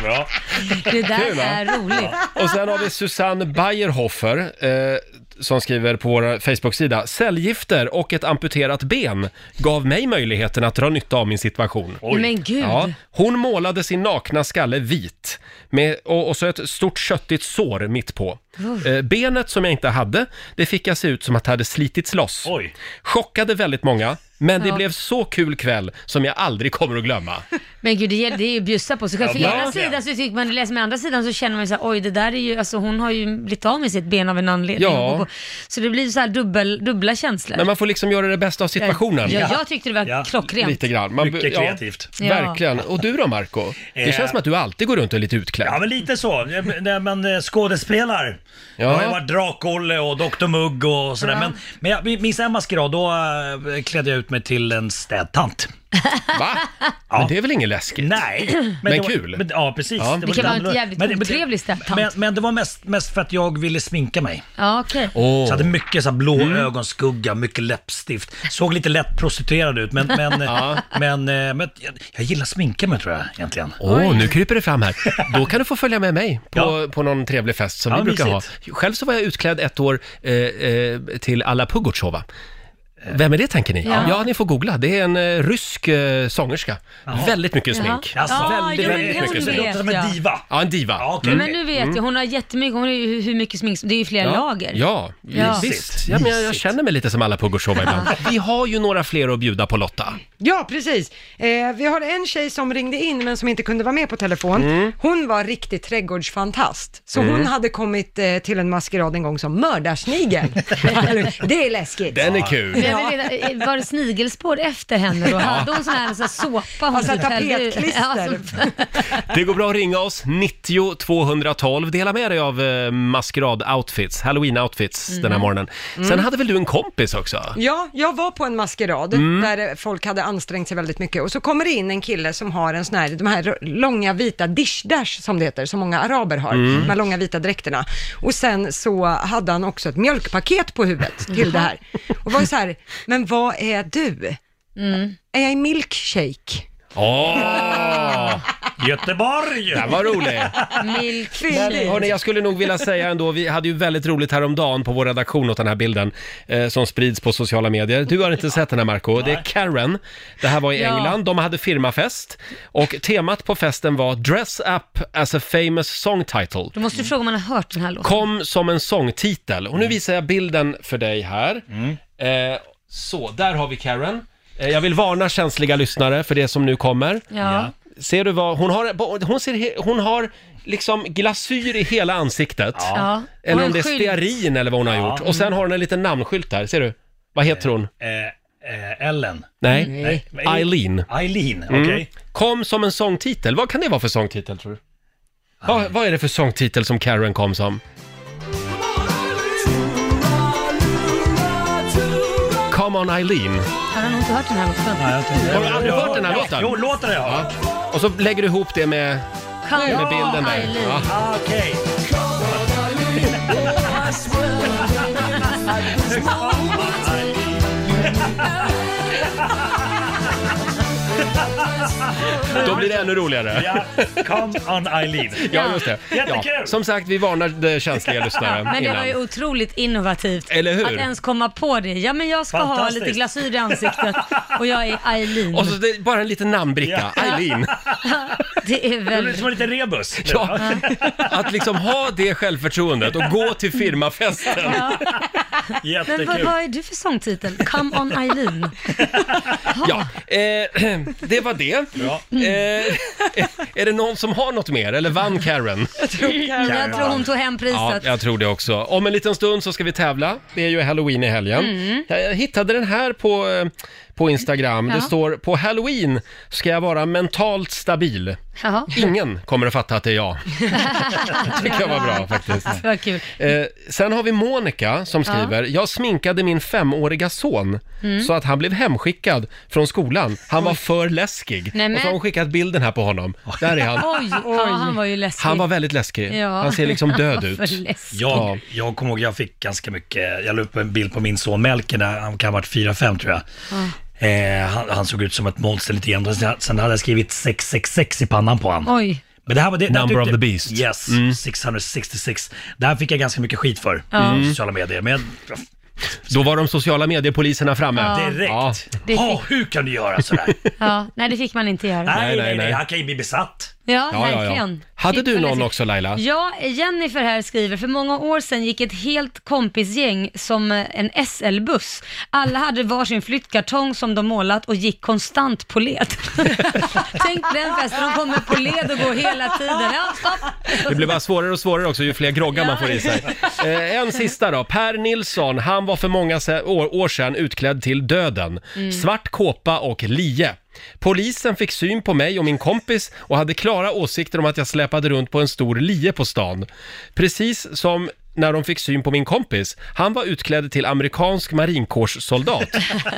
Bra.
Det där
Kul, va?
är roligt.
Och sen har vi Susanne Bayerhofer eh, som skriver på vår Facebook-sida. Cellgifter och ett amputerat ben gav mig möjligheten att dra nytta av min situation.
Oj. Men gud.
hon målade sin nakna skalle vit med, och, och så ett stort köttigt sår mitt på.
Uff.
Eh, benet som jag inte hade, det fick jag se ut som att det hade slitits loss. Chockade väldigt många, men det
Ja.
blev så kul kväll som jag aldrig kommer att glömma.
Men gud, det gäller- det är ju att bjussa på sig själv.
Ja,
För ena
verkligen.
sidan så tycker man, läser med andra sidan så känner man ju så här, oj det där är ju, alltså hon har ju blivit av med sitt ben av en anledning.
Ja.
Och- och- Så det blir så här dubbel, dubbla känslor.
Men man får liksom göra det bästa av situationen.
Ja, jag tyckte det var klockrent.
Lite grann. Man-
Mycket
ja,
kreativt.
Ja.
Verkligen. Och du då Marco? Det
Eh.
känns som att du alltid går runt och är lite utklädd.
Ja men lite så, när man eh, skådespelar.
Ja.
Jag har ju varit Drak-Olle och Dr Mugg och sådär.
Ja.
Men, men jag, min- min sen maskerad, då eh, klädde jag ut mig till en städtant.
Va? Men det är väl inget läskigt?
Nej.
Men
det var-
kul.
Men, ja, precis.
Ja.
Det kan vara
lite
en jävligt
annorlunda. Men-
otrevlig stäpptant.
Men, men det var mest, mest för att jag ville sminka mig.
Ja, okej.
Så jag hade mycket så här blå
Mm.
ögonskugga, mycket läppstift. Såg lite lätt prostituerad ut, men, men,
Ja.
men, eh, men jag, jag gillar att sminka mig tror jag egentligen.
Åh, nu kryper det fram här. Då kan du få följa med mig på, på någon trevlig fest som
Ja,
vi brukar
mysigt.
ha. Själv så var jag utklädd ett år eh, eh, till Alla Pugotjova. Vem är det tänker ni? Ja.
Ja.
ni får googla. Det är en eh, rysk eh, sångerska. Väldigt mycket
Jaha.
smink.
Alltså,
Jaså? Ja,
väldigt,
jo, men
väldigt
hon
mycket smink.
vet, Låter som en ja. diva.
Ja, en diva.
Ja, Men nu vet jag, hon har jättemycket, hon har ju hur- hur mycket smink som, det är ju flera
Mm. ja.
lager.
Ja,
Ja.
visst. Ja, men jag, jag känner mig lite som alla Pugotjova ibland. Vi har ju några fler att bjuda på Lotta.
Ja, precis. Eh, vi har en tjej som ringde in men som inte kunde vara med på telefon. Hon var riktig trädgårdsfantast. Så
Mm.
hon hade kommit eh, till en maskerad en gång som mördarsnigel. Eller, det är läskigt.
Den är kul.
Men jag vill veta, eh, var det snigelspår efter henne då?
Ja.
Hade hon sån här, så här såpa? Hon
Alltså,
typ hällde ut?
tapetklister.
Ja, alltså, som-
Det går bra att ringa oss, 90 212. Dela med dig av eh, maskerad-outfits, halloween-outfits den här
Mm.
morgonen. Sen
Mm.
hade väl du en kompis också?
Ja, jag var på en maskerad
Mm.
där folk hade ansträngt sig väldigt mycket och så kommer det in en kille som har en sån här, de här r- långa vita dishdash som det heter, som många araber har,
Mm.
de här långa vita dräkterna. Och sen så hade han också ett mjölkpaket på huvudet till det här. Och var ju så här, men vad är du? Är jag i milkshake?
Åh!
Göteborg!
Den var rolig!
Fylligt.
Men, hörni, jag skulle nog vilja säga ändå, vi hade ju väldigt roligt häromdagen på vår redaktion åt den här bilden eh, som sprids på sociala medier. Du har inte sett den här Marco, det är Karen. Det här var i
Ja.
England, de hade firmafest och temat på festen var “Dress up as a famous song title”.
Då måste du fråga om man har hört den här låten.
Kom som en sångtitel. Och nu visar jag bilden för dig här. Eh, så, där har vi Karen. Eh, jag vill varna känsliga lyssnare för det som nu kommer.
Ja.
Ser du vad, hon har, hon ser, he- hon har liksom glasyr i hela ansiktet.
Ja. Och
Eller
en
om det är
skylt.
stearin eller vad hon har gjort. Och sen har hon en liten namnskylt där, ser du? Vad heter hon?
Eh, eh, Ellen.
Nej,
Nej. Nej.
Eileen.
Eileen,
Mm.
okej.
Kom som en sångtitel. Vad kan det vara för sångtitel tror du? Vad, vad är det för sångtitel som Karen kom som? Come on Eileen.
Han har nog inte hört den här låten.
Har du aldrig hört den här låten?
Jo, låten har jag hört.
Och så lägger du ihop det med,
Come
med
on,
bilden där.
Eileen.
Ah, Okej.
Då blir det ännu roligare.
Ja, come on Eileen.
Ja, just det.
Jättekul.
Ja. Som sagt, vi varnade känsliga lyssnare
Men det var
innan.
ju otroligt innovativt
Eller hur?
att ens komma på det. Ja, men jag ska ha
Fantastiskt.
lite glasyr i ansiktet och jag är Eileen.
Och så det är bara en liten namnbricka, Eileen.
Det är
Det blir
väl...
som en liten rebus.
Ja, att liksom ha det självförtroendet och gå till firmafesten.
Men vad,
Jättekul.
vad är du för sångtitel? Come on Eileen.
Ja, eh, det var det. Eh, är det någon som har något mer, eller vann Karen?
Jag tror hon tog hem
Ja,
priset.
jag tror det också. Om en liten stund så ska vi tävla. Det är ju halloween i helgen.
Mm.
Jag jag hittade den här på, eh, på Instagram.
Ja.
Det står på halloween ska jag vara mentalt stabil.
Jaha.
Ingen kommer att fatta att det är jag. Det kan vara bra faktiskt.
Vad kul.
Eh, sen har vi Monica som
Ja.
skriver, jag sminkade min femåriga son
Mm.
så att han blev hemskickad från skolan. Han var för läskig.
Nej, men-
Och så har hon skickat bilden här på honom. Där är han.
Oj, Ja, han var ju läskig.
Han var väldigt läskig.
Ja.
Han ser liksom död
För
ut.
läskig.
Jag, jag kommer ihåg, jag fick ganska mycket, jag la upp en bild på min son Melker när han kan ha varit 4-5 tror jag. Eh, han, han såg ut som ett monster lite grann. Och Sen, sen hade jag skrivit 666 i pannan på honom.
Oj.
Men det här var det, det här
Number of
tyckte-
the beast. Mm.
Yes, 666. Det här fick jag ganska mycket skit för
Ja.
i
Mm.
sociala medier. Men jag,
Då var de sociala mediepoliserna framme.
Ja.
direkt.
Ja.
Det
"Ha,
fick-
hur kan du göra sådär?
Ja, nej, det fick man inte göra.
nej,
nej,
nej, nej,
nej.
han kan ju bli besatt.
Ja,
Ja, ja,
verkligen.
ja. Hade
Shit,
du
vad
någon
läskigt.
också Laila?
Ja, Jennifer här skriver, för många år sedan gick ett helt kompisgäng som eh, en SL-buss. Alla hade varsin flyttkartong som de målat och gick konstant på led. Tänk den festen, de kommer på led och går hela tiden. Ja, stopp!
Det blir bara svårare och svårare också ju fler groggar man får i sig. Eh, en sista då. Per Nilsson, han var för många se- år, år sedan utklädd till döden.
Mm.
Svart kåpa och lie. Polisen fick syn på mig och min kompis och hade klara åsikter om att jag släpade runt på en stor lie på stan. Precis som när de fick syn på min kompis. Han var utklädd till amerikansk marinkårssoldat,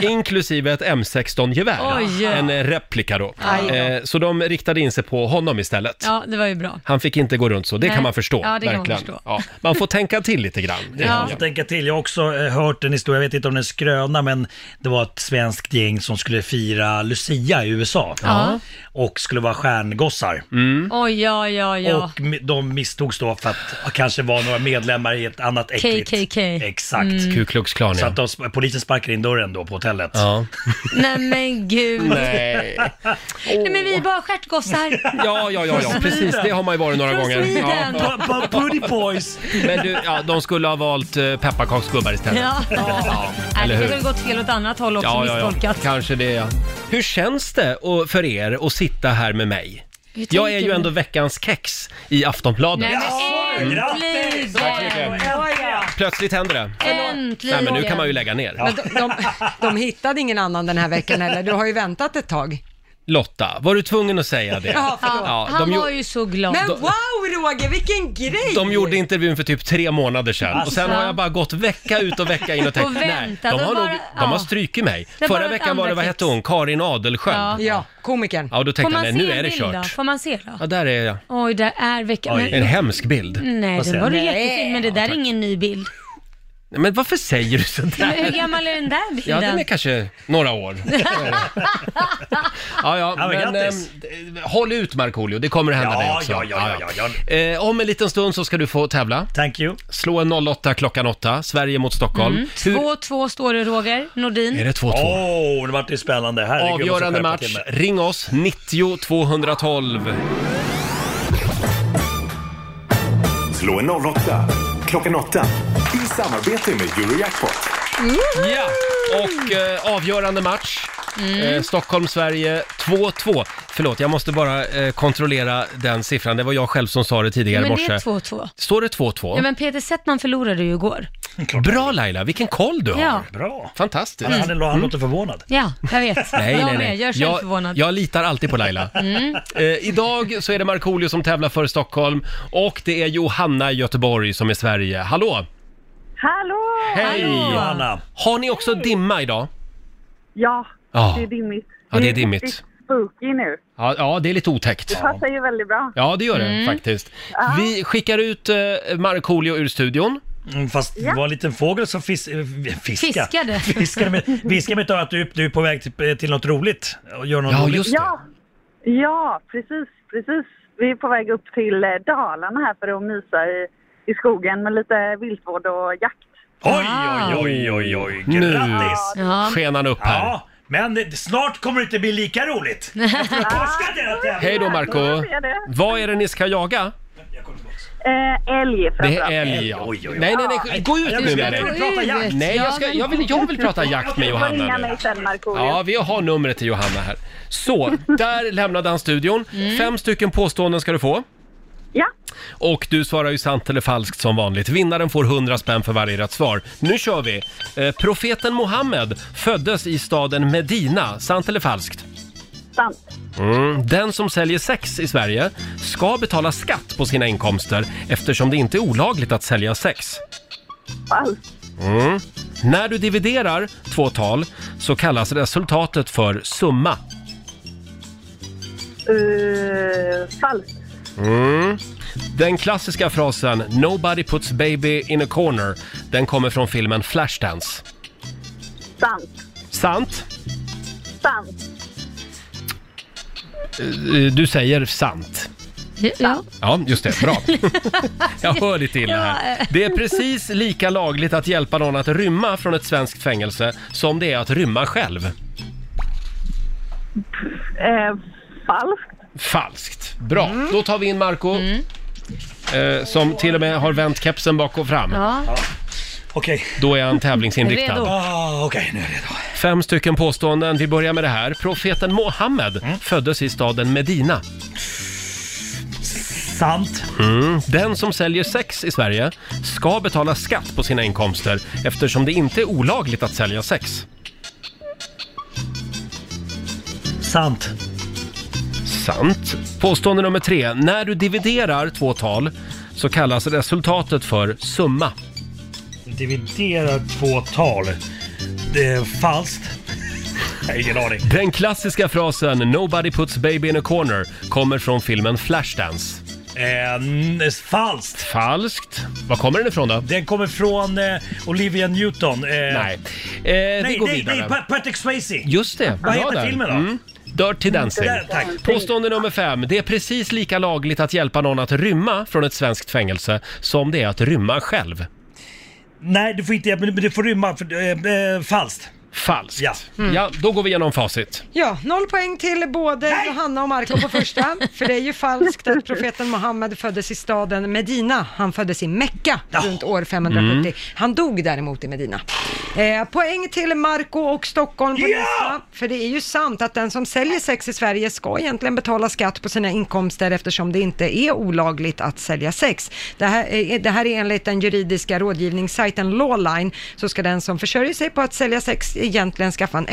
inklusive ett M16-gevär.
Oj.
En replika då.
Aj då.
Eh, så de riktade in sig på honom istället.
Ja, det var ju bra.
Han fick inte gå runt så, det
Nej.
kan man förstå.
Ja, det kan man
verkligen.
förstå.
Ja, man får tänka till lite grann.
Det kan man få tänka till. Jag har också eh, hört en historia, jag vet inte om den är skröna, men det var ett svenskt gäng som skulle fira Lucia i USA.
Ja.
Och skulle vara stjärngossar.
Mm.
Oj, ja, ja, ja.
Och mi- de misstogs då för att kanske vara några medlemmar i ett annat äckligt.
KKK.
Exakt.
Mm.
Ku Klux Klan,
Så
ja.
att de, sp- polisen sparkar in dörren då på hotellet.
Nej men gud.
Nej.
Nej men vi är bara stjärtgossar.
Ja, ja, ja, ja, precis. Det har man ju varit några
Från
gånger.
Sweden.
Ja.
Bara Booty boys!
Men du, ja, de skulle ha valt eh, pepparkaksgubbar istället.
Ja.
Ja,
Nej,
eller
det
hur?
kanske har gått fel åt annat håll också, misstolkat.
Kanske det, ja. Hur känns det och- för er att sitta här med mig?
Hur tänker
Jag är ju
du?
ändå veckans kex i Aftonbladet.
Nej, men
Mm.
äntligen!
Plötsligt händer det.
Äntligen!
Nej, men nu kan man ju lägga ner.
Men de, de, de hittade ingen annan den här veckan heller. Du har ju väntat ett tag.
Lotta, var du tvungen att säga det?
Ja, förlåt.
Ja,
Han
de
var
gjo-
ju så glad.
Men wow Roger, vilken grej!
De gjorde intervjun för typ tre månader sedan och sen har jag bara gått vecka ut och vecka in och tänkt
Och
nej,
väntat
de har,
och bara-
nog,
ja.
de har strykit mig.
Det var
Förra
ett
veckan var det, vad
andra
hette
tips.
hon, Karin Adelsköld?
Ja.
Ja,
Ja, komikern.
då
Får
tänkte jag
man
nej,
se
nu
en
är det
bild då?
kört.
Får man se då?
Ja, där är jag.
Oj, där är veckan.
En
Men...
hemsk bild.
Nej,
Vad
den
säger
var du
du?
jättefin, men det där är ingen ny bild.
Nej, Men varför säger du
Men hur
sådär?
gammal är den där
Ja,
bilden?
den är kanske några år. ja, ja,
Ja, men
men
grattis.
ehm, håll ut Markoolio, det kommer att hända
Ja,
dig också.
ja, ja, ja, ja,
Eh, om en liten stund så ska du få tävla.
Thank you.
Slå en 08 klockan 8, Sverige mot Stockholm.
Mm.
Hur-
2-2 står det Roger Nordin.
Är det 2-2?
Åh, oh, det vart ju spännande. Herregud, jag måste
Avgörande
skärpa
match.
till mig.
Ring oss, 90 212.
Slå en 08 klockan 8 i samarbete med Eurojackpot.
Ja, och eh, avgörande match.
Mm.
Eh, Stockholm-Sverige 2-2. Förlåt, jag måste bara eh, kontrollera den siffran. Det var jag själv som sa det tidigare i
Men det
morse.
är 2-2.
Står det 2-2?
Ja, men Peter Settman förlorade ju igår.
Bra Laila, vilken koll du har.
Ja.
Bra.
Fantastiskt.
Han, han, han låter förvånad.
Ja, jag vet.
Nej,
jag
nej,
med.
nej.
Gör själv förvånad. Mm.
jag litar alltid på Laila. Eh, idag så är det Markoolio som tävlar för Stockholm och det är Johanna i Göteborg som är Sverige. Hallå!
Hallå!
Hej!
Hallå!
Johanna.
Har ni också dimma idag?
Ja,
Ja.
det är dimmigt.
Ja, det är
riktigt
dimmigt.
spooky nu.
Ja, ja det är lite
Det
otäckt.
passar ju väldigt bra.
Ja, det gör det
Mm.
faktiskt.
Ja.
Vi skickar ut eh, Markoolio ur studion.
mm, Fast det var en liten fågel som fis, eh, fiska.
Fiskade.
fiskade med, viskade med ett öra att du, du är på väg till, till något roligt. Och gör något roligt.
Ja, ja, precis, precis. Vi är på väg upp till eh, Dalarna här för att mysa i, i skogen med lite viltvård och jakt.
Oj, oj, oj, oj, oj.
Nu
Grattis!
Ja.
skenar han upp här.
Ja, men det, snart kommer det inte bli lika roligt.
Hej då Marco. Vad är det ni ska jaga?
Eh, älg
Det
framförallt.
är älg ja. Nej, nej, nej, gå ut
Jag
nu
ska
med
inte prata
dig.
jakt.
Nej, jag, ska, jag, vill, jag vill prata jakt med
Du får ringa
Johanna nu.
mig sen, Markoolio.
Ja, vi har numret till Johanna här. Så, där lämnade han studion.
Mm.
Fem stycken påståenden ska du få.
Ja.
Och du svarar ju sant eller falskt som vanligt. Vinnaren får 100 spänn för varje rätt svar. Nu kör vi! Eh, profeten Mohammed föddes i staden Medina. Sant eller falskt?
Sant.
Mm. Den som säljer sex i Sverige ska betala skatt på sina inkomster eftersom det inte är olagligt att sälja sex.
Falskt.
Mm. När du dividerar två tal så kallas resultatet för summa.
Eh, falskt.
Mm. Den klassiska frasen “Nobody puts baby in a corner” den kommer från filmen Flashdance.
Sant.
Sant?
Sant.
Eh, Du säger sant.
Ja.
Ja, just det. Bra. Jag hör lite illa här. Det är precis lika lagligt att hjälpa någon att rymma från ett svenskt fängelse som det är att rymma själv.
Eh, falskt.
Falskt. Bra, då tar vi in Marco eh, som till och med har vänt kepsen bak och fram.
Okej.
Då är han tävlingsinriktad.
Ah, Okej, nu är jag redo.
Fem stycken påståenden. Vi börjar med det här. Profeten Mohammed föddes i staden Medina.
Sant.
Mm. Den som säljer sex i Sverige ska betala skatt på sina inkomster eftersom det inte är olagligt att sälja sex.
Sant.
Sant. Påstående nummer tre. När du dividerar två tal så kallas resultatet för summa.
Dividerar två tal. Det är falskt. Jag har ingen aning.
Den klassiska frasen “Nobody puts baby in a corner” kommer från filmen Flashdance.
Eh, n- falskt.
Falskt. Var kommer den ifrån då?
Den kommer från eh, Olivia Newton. Eh,
Nej.
nej,
vi går
nej,
vidare.
nej, Pa- Patrick Swayze.
Just det,
Vad
bra
heter
där.
filmen då?
Mm. Dirty Dancing.
Där, tack.
Påstående nummer fem. Det är precis lika lagligt att hjälpa någon att rymma från ett svenskt fängelse som det är att rymma själv.
Nej, du får inte men du får rymma. För, eh, eh, falskt.
Falskt.
Ja.
Ja, då går vi igenom facit.
Ja, noll poäng till både Johanna och Marco på första. För det är ju falskt att profeten Mohammed föddes i staden Medina. Han föddes i Mecka runt år 570.
Mm.
Han dog däremot i Medina. Eh, poäng till Marco och Stockholm på
Ja!
nästa. För det är ju sant att den som säljer sex i Sverige ska egentligen betala skatt på sina inkomster eftersom det inte är olagligt att sälja sex. Det här, är- det här är enligt den juridiska rådgivningssajten Lawline så ska den som försörjer sig på att sälja sex egentligen skaffa en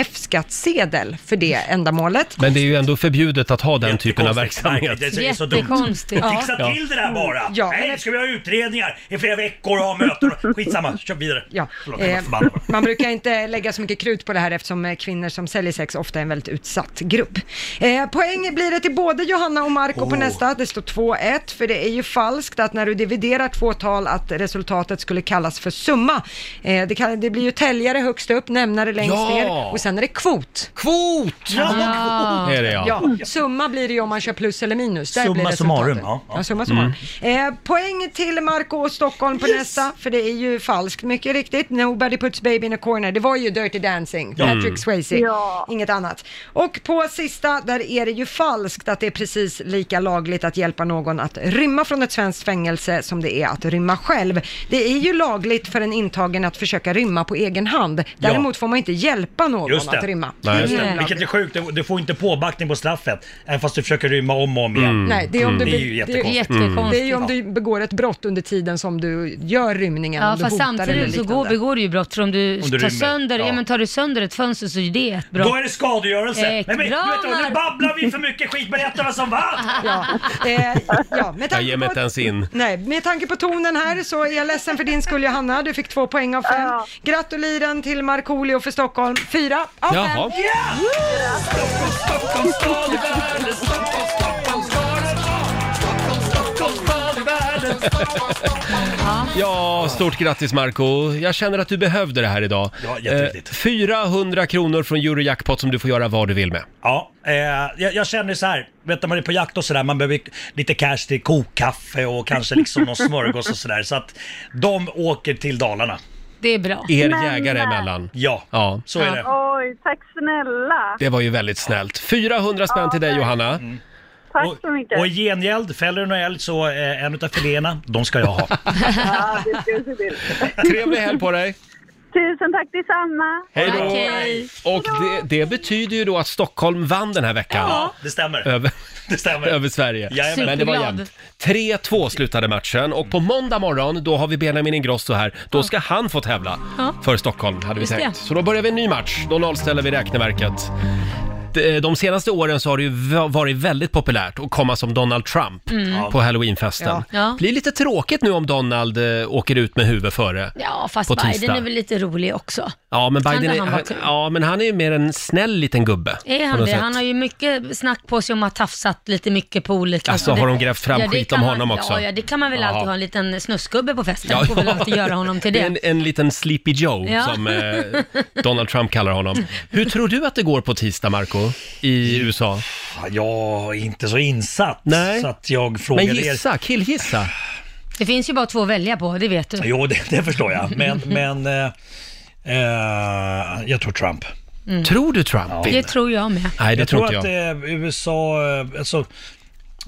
F-skattsedel för det ändamålet.
Men det är ju ändå förbjudet att ha den typen av verksamhet.
Nej, det är så dumt.
Jättekonstigt.
Fixa
Ja.
till det där bara!
Ja,
Nej, ska vi ha utredningar i flera veckor och ha möten? Skitsamma, kör vidare.
Ja.
Förlåt, jag var
Eh,
förbannad.
man brukar inte lägga så mycket krut på det här eftersom eh, kvinnor som säljer sex ofta är en väldigt utsatt grupp. Eh, poäng blir det till både Johanna och Marco på
Oh.
nästa. Det står 2-1 för det är ju falskt att när du dividerar två tal att resultatet skulle kallas för summa. Eh, det, kan, det blir ju täljare högst upp, nämnare längst
Ja.
ner och sen är det kvot.
Kvot!
Ja,
Ja. Är det, ja.
Summa blir det ju om man kör plus eller minus. Där
Summa
blir resultatet.
summarum, ja. Mm.
ja. summa summarum. Eh, poäng till Marco och Stockholm på nästa, för det är ju falskt mycket riktigt. Nobody puts baby in a corner, det var ju Dirty Dancing,
Ja. Mm.
Patrick Swayze,
Ja.
inget annat. Och på sista, där är det ju falskt att det är precis lika lagligt att hjälpa någon att rymma från ett svenskt fängelse som det är att rymma själv. Det är ju lagligt för en intagen att försöka rymma på egen hand.
Ja.
Däremot får man inte hjälpa någon
Just
att
det.
rymma.
Nej, just det.
Mm.
Vilket är sjukt, du- du får inte påbackning på straffet. Även fast du försöker rymma om och om igen.
Mm.
Nej, det är, om du,
det är ju
be-
jättekonstigt.
Mm.
Mm.
Det är ju om du begår ett brott under tiden som du gör rymningen.
Ja,
om du
fast
hotar eller
samtidigt så
liknande.
går, begår du ju brott. För om du,
Om
tar,
du rymmer,
sönder, ja.
ja.
men tar du sönder ett fönster så är det ett brott.
Då är det skadegörelse.
Eh,
men, men,
bra,
vet du, nu
Mark.
babblar vi för mycket skit. Berätta vad som vann!
Ja, eh, ja, med
Jag
tanke
ger mig inte ens in.
Nej, med tanke på tonen här så är jag ledsen för din skull Johanna. Du fick två poäng av fem. Gratuliren till Markoolio för Stockholm 4 av
Jaha.
5.
Ja, stort grattis Marco. Jag känner att du behövde det här idag.
Ja, jätteviktigt.
Eh, 400 kronor från Eurojackpot som du får göra vad du vill med.
Ja, eh, jag, jag känner så här, vet du, man är på jakt och sådär, man behöver lite cash till kokkaffe och kanske liksom någon smörgås och sådär. Så att de åker till Dalarna.
Det är bra.
Er jägare emellan.
Ja,
ja,
så är det.
Oj, tack snälla.
Det var ju väldigt snällt. 400 spänn till dig Johanna.
Tack så mycket.
Och i gengäld, fäller du någon älg så eh, en utav filéerna, de ska jag ha.
Ja, det ska jag se till.
Trevlig helg på dig!
Tusen tack detsamma.
Hej då! Och det, det betyder ju då att Stockholm vann den här veckan.
Ja, det stämmer.
Över,
det stämmer.
över Sverige.
Jajamän.
Men det var
Superglad.
jämnt. 3-2 slutade matchen och på måndag morgon då har vi Benjamin Ingrosso här. Då ska han få tävla
Ja.
för Stockholm hade vi
Just
tänkt.
det.
Så då börjar vi en ny match. Då nollställer vi räkneverket. De- eh, De senaste åren så har det ju va- varit väldigt populärt att komma som Donald Trump
Mm.
på halloweenfesten.
Ja. Ja.
blir lite tråkigt nu om Donald eh, åker ut med huvudet före.
Ja, fast
På
Biden
tisdag.
är väl lite rolig också.
Ja, men
Kan
Biden
inte
är,
han
han,
vara kul?
ja, men han är ju mer en snäll liten gubbe.
Är
på
han
något
det?
sätt.
Han har ju mycket snack på sig om att ha tafsat lite mycket på olika...
Alltså, har de grävt fram
det
skit
kan
om
man-
honom också?
Ja, ja, det kan man väl
Ja.
alltid ha en liten snusgubbe på festen.
Ja,
Får väl
ja.
alltid göra honom till
Det är
det.
en, en liten sleepy Joe
Ja.
som eh, Donald Trump kallar honom. Hur tror du att det går på tisdag, Marco, i USA?
Jag är inte så insatt
Nej.
så att jag frågar
Men
er.
gissa, killgissa.
Det finns ju bara två att välja på, det vet du.
Jo, det, det förstår jag. Men, men eh, eh, jag tror Trump.
Mm.
Tror du Trump
Det tror jag med.
Nej, det
jag
tror
tror
inte
att eh, USA, eh, alltså,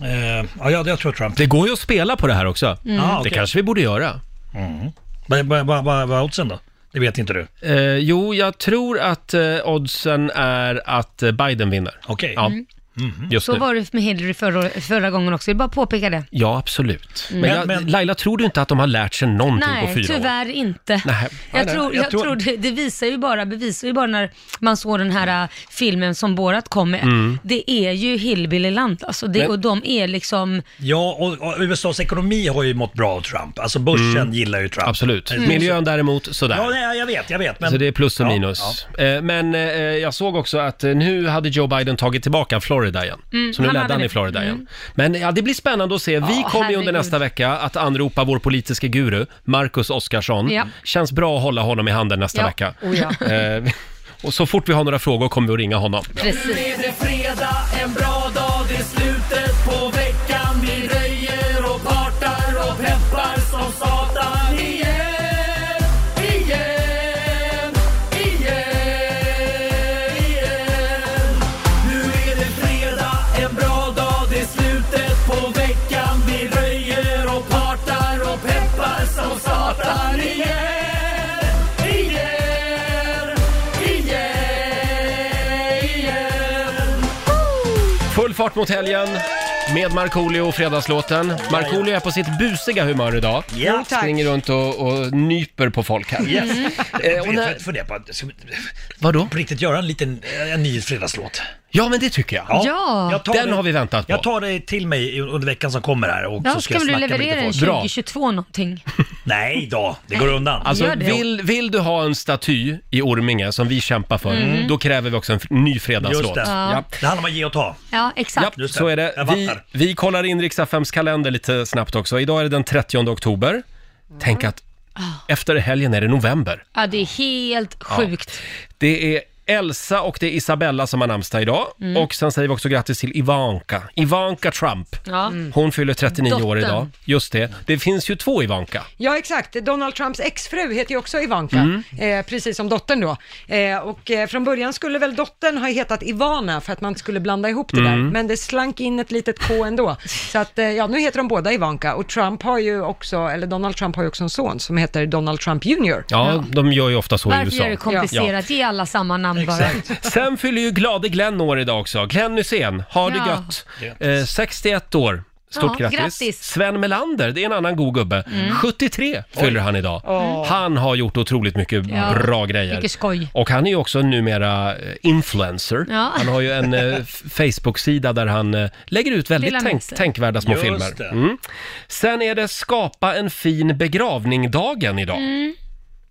eh, ja, jag, jag tror Trump.
Det går ju att spela på det här också.
Mm. Ah, okej.
Det kanske vi borde göra.
Mm. Vad vad- vad- vad- vad är oddsen då? Det vet inte du.
Eh, jo, jag tror att eh, oddsen är att eh, Biden vinner.
Okej.
Ja,
Mm.
Mhm.
just
Så
nu.
var det med Hillary förra, förra gången också, jag vill bara påpeka det.
Ja, absolut.
Mm.
Men,
Men-
jag,
men-
Laila, tror du inte att de har lärt sig någonting på
Nej,
fyra år?
tyvärr Eh, inte.
Nej.
Jag
Nej,
tror,
nej.
jag tror det, det visar ju bara, bevisar ju bara när man såg den här äh, filmen som Borat kom med.
Mm.
Det är ju hillbillyland alltså, det,
Men-
och de är liksom...
Ja, och, och USAs ekonomi har ju mått bra av Trump. Alltså börsen
Mm.
gillar ju Trump.
Absolut.
Mm.
Miljön däremot, sådär.
Ja, nej, jag vet, jag vet. Men...
Så det är plus och
Ja,
minus.
ja.
Eh, Men eh, jag såg också att eh, nu hade Joe Biden tagit tillbaka Florida igen.
Mm,
så nu
han
ledde
hade
han i
det. Mm.
Florida igen. Men ja, det blir spännande att se. Vi kommer ju under
herregud.
nästa vecka att anropa vår politiska guru, Marcus Oskarsson.
Ja.
Känns bra att hålla honom i handen nästa
Ja.
vecka.
Oh, ja.
Eh, Och så fort vi har några frågor kommer vi att ringa honom.
Nu är det fredag, en bra dag, det är slutet på veckan. Vi röjer och partar och peppar som satan igen, igen, igen, igen. Nu är det fredag, en bra dag, det är slutet på veckan. Vi röjer och partar och peppar som satan igen, igen, igen, igen.
Full fart mot helgen med Markoolio och Fredagslåten. Markoolio är på sitt busiga humör idag.
Ja, tack.
Springer runt och, och nyper på folk här.
Yes.
Eh,
Jag
och när-
vet, funderar på, ska vi
Vadå?
på riktigt göra en liten, eh, en ny fredagslåt?
Ja, men det tycker jag.
jag tar
Den
det-
har vi väntat på.
Jag tar det till mig under veckan som kommer här och
Ja,
så
så ska
ska jag
väl du
snacka med
leverera
lite
den
folk.
2022 någonting.
Nej då, det går undan.
Alltså,
Gör det.
vill, vill du ha en staty i Orminge som vi kämpar för,
Mm.
då kräver vi också en f- ny fredagslåt.
Just det.
Ja.
Det handlar om att ge och ta.
Ja,
Ja,
exakt.
så är det. Vi, vi kollar in Riks-FMs kalender lite snabbt också. Idag är det den 30 oktober. Tänk att
Ah.
efter helgen är det november.
Ja, det är helt
Ja.
sjukt.
Det är Elsa och det är Isabella som har namnsdag idag.
Mm.
Och sen säger vi också grattis till Ivanka. Ivanka Trump.
Ja.
Hon fyller 39 år
Dottern.
idag. Just det. Det finns ju två Ivanka.
Ja, exakt. Donald Trumps exfru heter ju också Ivanka,
Mm.
eh, precis som dottern då. Eh, och eh, från början skulle väl dottern ha hetat Ivana för att man skulle blanda ihop det
Mm.
där, men det slank in ett litet K ändå. Så att, eh, ja, nu heter de båda Ivanka och Trump har ju också, eller Donald Trump har ju också en son som heter Donald Trump Jr.
Ja, de gör ju ofta så i
Varför
USA.
gör det
Ja.
komplicerat? Ge alla samma namn bara.
Sen fyller ju glade Glenn år idag också. Glenn Hysén, har det
Ja.
gött. Eh, 61 år. Stort
Ja,
grattis.
grattis.
Sven Melander, det är en annan god gubbe.
Mm.
73 fyller han idag.
Åh.
Han har gjort otroligt mycket
Ja.
bra grejer.
Mycket skoj.
Och han är ju också numera eh, influencer.
Ja.
Han har ju en eh, f- Facebook-sida där han eh, lägger ut väldigt
Delar med
tänk,
sig.
tänkvärda små
Just
filmer.
det.
Mm. Sen är det skapa en fin begravning-dagen idag.
Mm.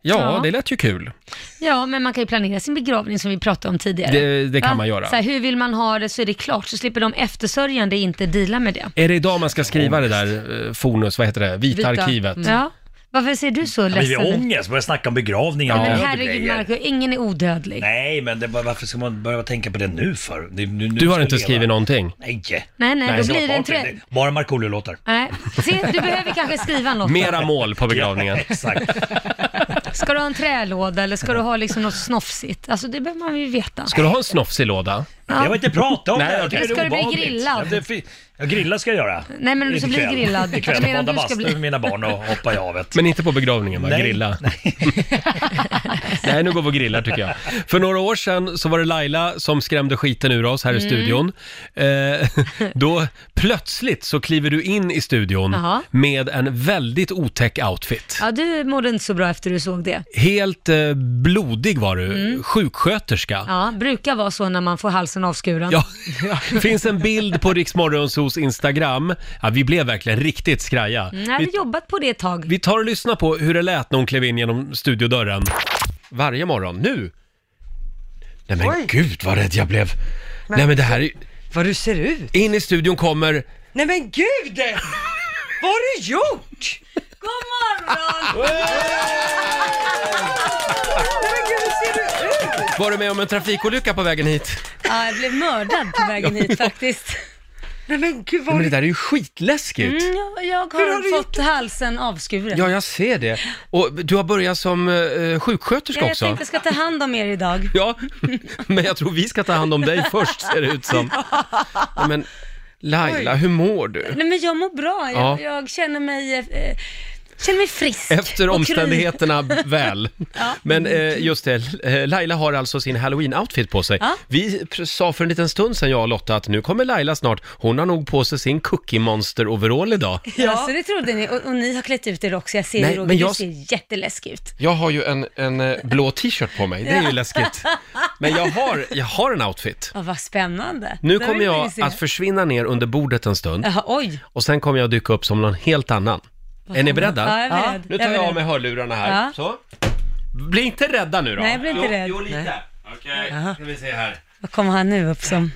Ja,
Ja.
det lät ju kul.
Ja, men man kan ju planera sin begravning som vi pratade om tidigare.
Det- det kan man göra.
Så här, hur vill man ha det så är det klart, så slipper de eftersörjande inte deala med det.
Är det idag man ska skriva det där eh, Fornus, vad heter det, Vita, arkivet?
Ja. Varför ser du så
men vi
ledsen
är
ut?
ång-
Ångest, börja snacka om begravningar.
Ja, men
död och
herregud
grejer.
Marco, ingen är odödlig.
Nej, men det, var- varför ska man börja tänka på det nu för? Det, nu, nu
Du har
ska
inte
leva.
skrivit någonting?
Nej.
Nej, nej, då
ska
blir det
vara
en
party.
trä-
är Bara Markoolio-låtar.
Nej. Se, du behöver kanske skriva något.
Mera mål på begravningen.
Ska du ha en trälåda eller ska du ha liksom något snofsigt? Alltså det behöver man ju veta.
Ska du ha en snofsig låda?
Ja. Det var inte
prata om det.
Nej,
Jag
okej.
tycker
Ska du bli
obehagligt.
grillad?
Ja, det är fi- Ja, grilla ska jag göra.
Nej, men du ska bli
Ikväll.
grillad.
Ikväll,
Jag menar,
måndag
du ska
bastu
bli-
med mina barn och hoppa i havet.
Men inte på begravningen va?
Nej.
Grilla? Nej. nu går vi och grillar tycker jag. För några år sedan så var det Laila som skrämde skiten ur oss här i
Mm.
studion. Eh, då plötsligt så kliver du in i studion
Jaha.
med en väldigt otäck outfit.
Ja, du mådde inte så bra efter du såg det.
Helt eh, blodig var du,
Mm.
sjuksköterska.
Ja, brukar vara så när man får halsen avskuren.
Ja, finns en bild på Riksmorgonsos Instagram. Ja, vi blev verkligen riktigt skraja.
Mm, Jag hade
Vi,
jobbat på det ett tag.
vi tar och lyssnar på hur det lät när hon klev in genom studiodörren. Varje morgon, nu! Nej men
Oj.
gud vad rädd jag blev!
Men-
Nej men det här är
Vad du ser ut!
In i studion kommer...
Nej men gud! Vad har du gjort?
God morgon!
Var du med om en trafikolycka på vägen hit?
Ja, jag blev mördad på vägen hit faktiskt.
Nej men gud
Nej, men det där är ju skitläskigt!
Mm, jag, jag
Hur
har,
har du
fått halsen avskuren.
Ja, jag ser det. Och du har börjat som eh, sjuksköterska
Ja, jag
också.
tänkte jag ska ta hand om er idag.
Ja, men jag tror vi ska ta hand om dig först ser det ut som. Nej, men Laila,
Oj.
hur mår du?
Nej men jag mår bra, jag,
Ja.
jag känner mig eh, känner mig frisk.
Efter
och kry.
omständigheterna väl.
Ja.
Men eh, just det, eh, Laila har alltså sin halloween-outfit på sig.
Ja.
Vi pr- sa för en liten stund sedan, jag och Lotta, att nu kommer Laila snart. Hon har nog på sig sin cookie monster-overall idag.
Ja. så det trodde ni. Och, och ni har klätt ut er också. Jag ser
Nej,
Nej, Roger,
men jag-
du ser jätteläskig ut.
Jag har ju en, en eh, blå t-shirt på mig, det är ju läskigt. Men jag har, jag har en outfit.
Ja, vad spännande.
Nu
Där
kommer
vill vi
jag
se.
att försvinna ner under bordet en stund.
Jaha, oj.
Och sen kommer jag dyka upp som någon helt annan.
Vad
är ni
kommer-
beredda?
Ja, jag är beredd.
Nu tar
Jag
jag,
är
av
beredd.
mig hörlurarna här.
Ja.
Så. Bli inte rädda nu då.
Nej, jag blir inte
jo,
rädd.
Jo, lite.
Nej.
Okej,
Jaha.
ska vi se här.
Vad kommer han nu upp som?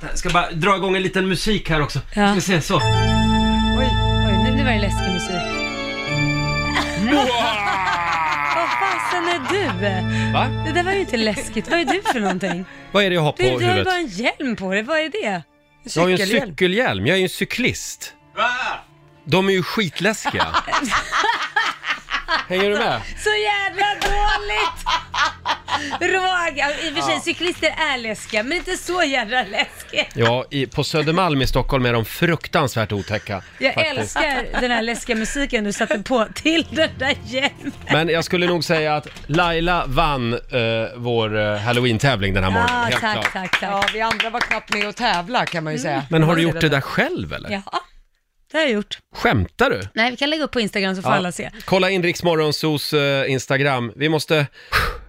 Jag ska bara dra igång en liten musik här också.
Ja.
Ska se, så.
Oj, oj, nu, nu var det läskig musik. Vad fasen är du?
Va?
Det där var ju inte läskigt. Vad är du för någonting?
Vad är det jag har på
Du, du har ju
huvudet?
bara en hjälm på dig. Vad är det?
Jag har ju en cykelhjälm. Jag är ju en cyklist. De är ju skitläskiga. Hänger du med?
Så jävla dåligt! Roger, i och för sig,
Ja.
cyklister är läskiga, men inte så jävla läskiga.
Ja, i, på Södermalm i Stockholm är de fruktansvärt otäcka.
Jag
faktiskt.
älskar den här läskiga musiken du satte på till den där hjälmen.
Men jag skulle nog säga att Laila vann eh, vår eh, halloween-tävling den här morgonen. helt klart.
tack, tack.
Ja, vi andra var knappt med och tävla kan man ju säga.
Men har du gjort det där själv eller?
Ja, det har jag gjort.
Skämtar du?
Nej, vi kan lägga upp på Instagram så får
Ja.
alla se.
Kolla in Rix Morgonzos eh, Instagram. Vi måste...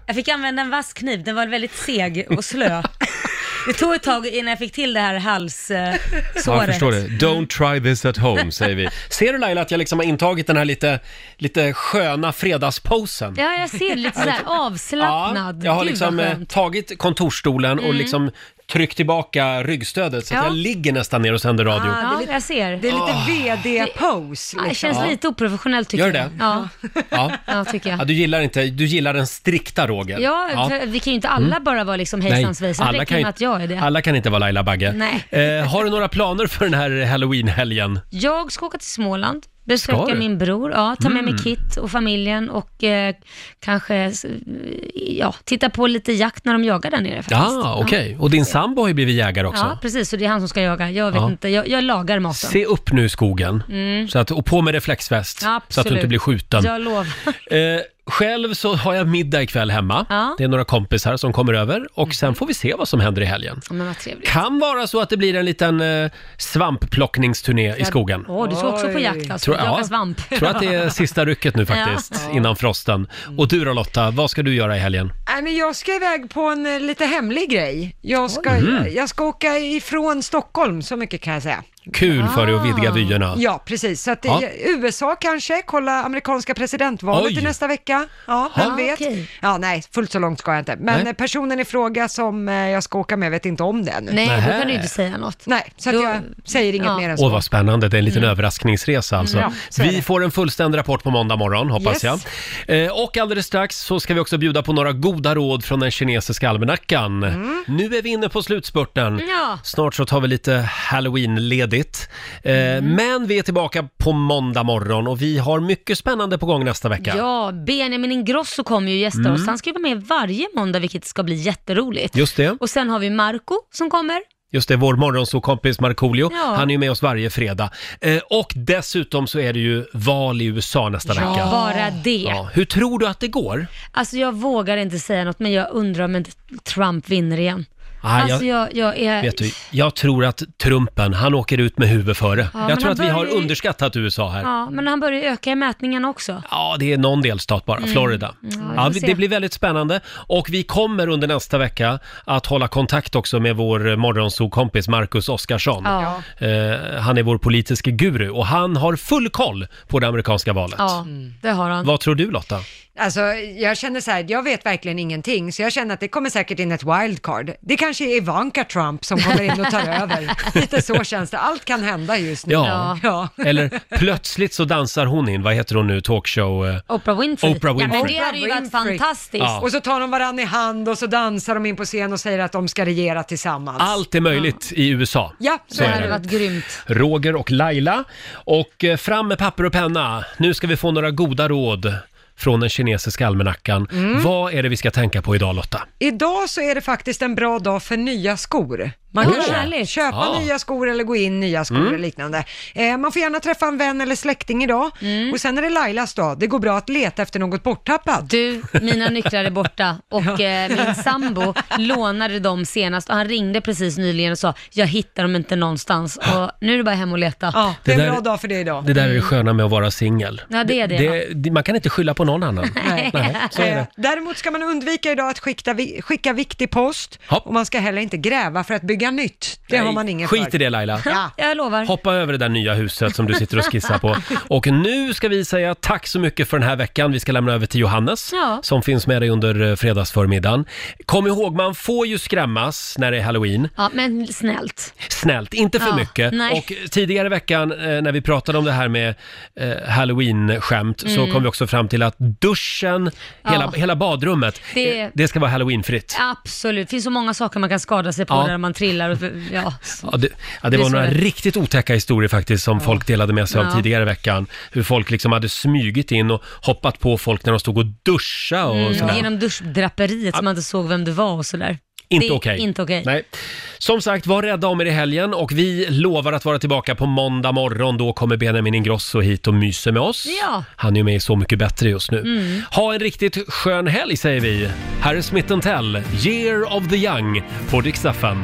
Jag fick använda en vass kniv, den var väldigt seg och slö. Det tog ett tag innan jag fick till det här eh, halssåret.
Ja, jag förstår det.
Mm.
Don't try this at home, säger vi. Ser du Laila att jag liksom har intagit den här lite, lite sköna fredagsposen?
Ja, jag ser lite så här avslappnad.
Jag har
Gud,
liksom
vad
eh,
skönt.
tagit kontorsstolen och
Mm.
liksom tryckt tillbaka ryggstödet så att
Ja. Ah.
jag ligger nästan ner och sänder radio.
Ja, det är lite, jag ser.
Det är lite
Ah.
VD-pose.
Det känns
Ja.
lite oprofessionellt tycker
Gör
jag.
det?
Ja.
Ja.
ja, tycker jag.
Ja, du gillar inte, du gillar den strikta Roger.
Ja, För vi kan ju inte alla
Mm.
bara vara liksom
Nej,
hejsan svejsan. Det
alla
räcker
kan
ju
ju-
med att jag är det.
Alla kan inte vara Laila Bagge.
Nej.
Eh, har du några planer för den här halloween-helgen?
Jag ska åka till Småland, besöka
du?
min bror, ja, ta med mig
Mm.
Kit och familjen och eh, kanske s- ja, titta på lite jakt när de jagar där nere faktiskt.
Ja, okej. Och din sambo har ju blivit jägare också.
Ja, precis. Så det är han som ska jaga. Jag vet
Ja.
inte, jag, jag lagar maten.
Se upp nu i skogen.
Mm.
Så att, och på med reflexväst så att du inte blir skjuten.
Jag lovar.
Eh, själv så har jag middag ikväll hemma.
Ja. Mm.
Det är några kompisar som kommer över och sen får vi se vad som händer i helgen.
Ja, men vad trevligt.
Kan vara så att det blir en liten eh, svampplockningsturné i skogen.
Åh, du ska också på jakt alltså.
Tror- ja.
Jaga svamp.
tror att det är sista rycket nu faktiskt,
Ja.
innan frosten.
Mm.
Och du då Lotta, vad ska du göra i helgen?
Äh, Nej, men jag ska iväg på en eh, lite hemlig grej. Jag ska,
Oj. Mhm.
jag ska åka ifrån Stockholm, så mycket kan jag säga.
Kul för dig att vidga vyerna.
Ah. Ja, precis. Så att det,
Ja.
USA kanske, kolla amerikanska presidentvalet
Oj.
i nästa vecka. Ja,
Ja.
vem vet? Ja, nej, fullt så långt ska jag inte. Men
Nej.
eh, personen i fråga som eh, jag ska åka med vet inte om det ännu.
Nej, då kan du inte säga något.
Nej, så att jag säger inget mer än så. Mm.
Åh, vad spännande. Det är en liten överraskningsresa alltså.
Ja, så är
vi
det.
får en fullständig rapport på måndag morgon, hoppas
Yes.
jag. Eh, och alldeles strax så ska vi också bjuda på några goda råd från den kinesiska almanackan.
Mm.
Nu är vi inne på slutspurten.
Ja.
Snart så tar vi lite halloween-ledigt. Eh,
Mm.
Men vi är tillbaka på måndag morgon och vi har mycket spännande på gång nästa vecka.
Ja, Benjamin Ingrosso kommer ju gästa
Mm.
oss. Han ska ju vara med varje måndag, vilket ska bli jätteroligt.
Just det.
Och sen har vi Marco som kommer.
Just det, vår morgonsåkompis Markoolio.
Ja.
Han är ju med oss varje fredag. Eh, och dessutom så är det ju val i USA nästa
Ja.
vecka.
Bara det.
Ja. Hur tror du att det går?
Alltså jag vågar inte säga något, men jag undrar om inte Trump vinner igen.
Ah,
alltså jag, jag är...
Vet du, jag tror att Trumpen, han åker ut med huvudet före.
Ja, men
jag tror
han
att vi har
börjar ju-
underskattat USA här. Ja.
Ja, men han börjar öka i mätningarna också.
det är någon delstat bara,
Mm.
Florida.
Ja,
Ja,
vi får
det
se.
blir väldigt spännande. Och vi kommer under nästa vecka att hålla kontakt också med vår morgonsokompis Marcus Oskarsson.
Ja.
Eh, han är vår politiska guru och han har full koll på det amerikanska valet.
Ja, det har han.
Vad tror du Lotta?
Alltså, jag känner så här, jag vet verkligen ingenting, så jag känner att det kommer säkert in ett wildcard. Det kanske är Ivanka Trump som kommer in och tar över. Lite så känns det. Allt kan hända just nu.
Ja.
ja.
Eller plötsligt så dansar hon in, vad heter hon nu, talkshow... eh,
Oprah Winfrey.
Oprah Winfrey.
Ja, men det hade ju varit fantastiskt.
Ja.
Och så tar de varandra i hand och så dansar de in på scen och säger att de ska regera tillsammans.
Allt är möjligt i USA.
Ja,
Så är det.
grymt.
Roger och Laila. Och eh, fram med papper och penna. Nu ska vi få några goda råd från den kinesiska almanackan.
Mm.
Vad är det vi ska tänka på idag Lotta?
Idag så är det faktiskt en bra dag för nya skor. Man kan
Oj.
köpa, köpa
Ja.
nya skor eller gå in nya skor
Mm.
eller liknande. Eh, man får gärna träffa en vän eller släkting idag.
Mm.
Och sen är det Lailas dag. Det går bra att leta efter något borttappat.
Du, Mina nycklar är borta och eh, min sambo lånade dem senast och han ringde precis nyligen och sa jag hittar dem inte någonstans och nu är det bara hem och leta.
Ja,
det är en Det där- bra
dag för dig idag.
Det där är det sköna med att vara singel.
Ja, det är det.
man kan inte skylla på någon annan.
Nej.
så är
Eh,
det.
Däremot ska man undvika idag att skicka, vi- skicka viktig post och man ska heller inte gräva för att bygga nytt. Det har
Nej,
man ingen
Skit
för.
i det Laila.
Ja.
Jag lovar.
Hoppa över det där nya huset som du sitter och skissar på. Och nu ska vi säga tack så mycket för den här veckan. Vi ska lämna över till Johannes
Ja.
som finns med dig under eh, fredagsförmiddagen. Kom ihåg, man får ju skrämmas när det är halloween.
Ja, men snällt.
Snällt, inte för
Ja,
mycket.
nej.
Och tidigare i veckan eh, när vi pratade om det här med eh, halloween-skämt så
Mm.
kom vi också fram till att duschen,
Ja.
hela, hela badrummet, eh,
Det-
det... det ska vara halloweenfritt.
Absolut, det finns så många saker man kan skada sig på
Ja.
där man trillar och ja.
Ja, det, ja, det
Det
var
är så
några
det är.
riktigt otäcka historier faktiskt som folk delade med sig av
Ja.
tidigare i veckan. Hur folk liksom hade smugit in och hoppat på folk när de stod och duscha och
Mm,
sådär.
genom duschdraperiet så man inte såg vem det var och sådär.
Inte
Det är
okej.
Inte okej.
Nej. Som sagt, var rädda om er i helgen och vi lovar att vara tillbaka på måndag morgon. Då kommer Benjamin Ingrosso hit och myser med oss.
Ja.
Han är ju med i Så mycket bättre just nu.
Mm.
Ha en riktigt skön helg säger vi. Här är Smith Tell, Year of the Young på Dix FM.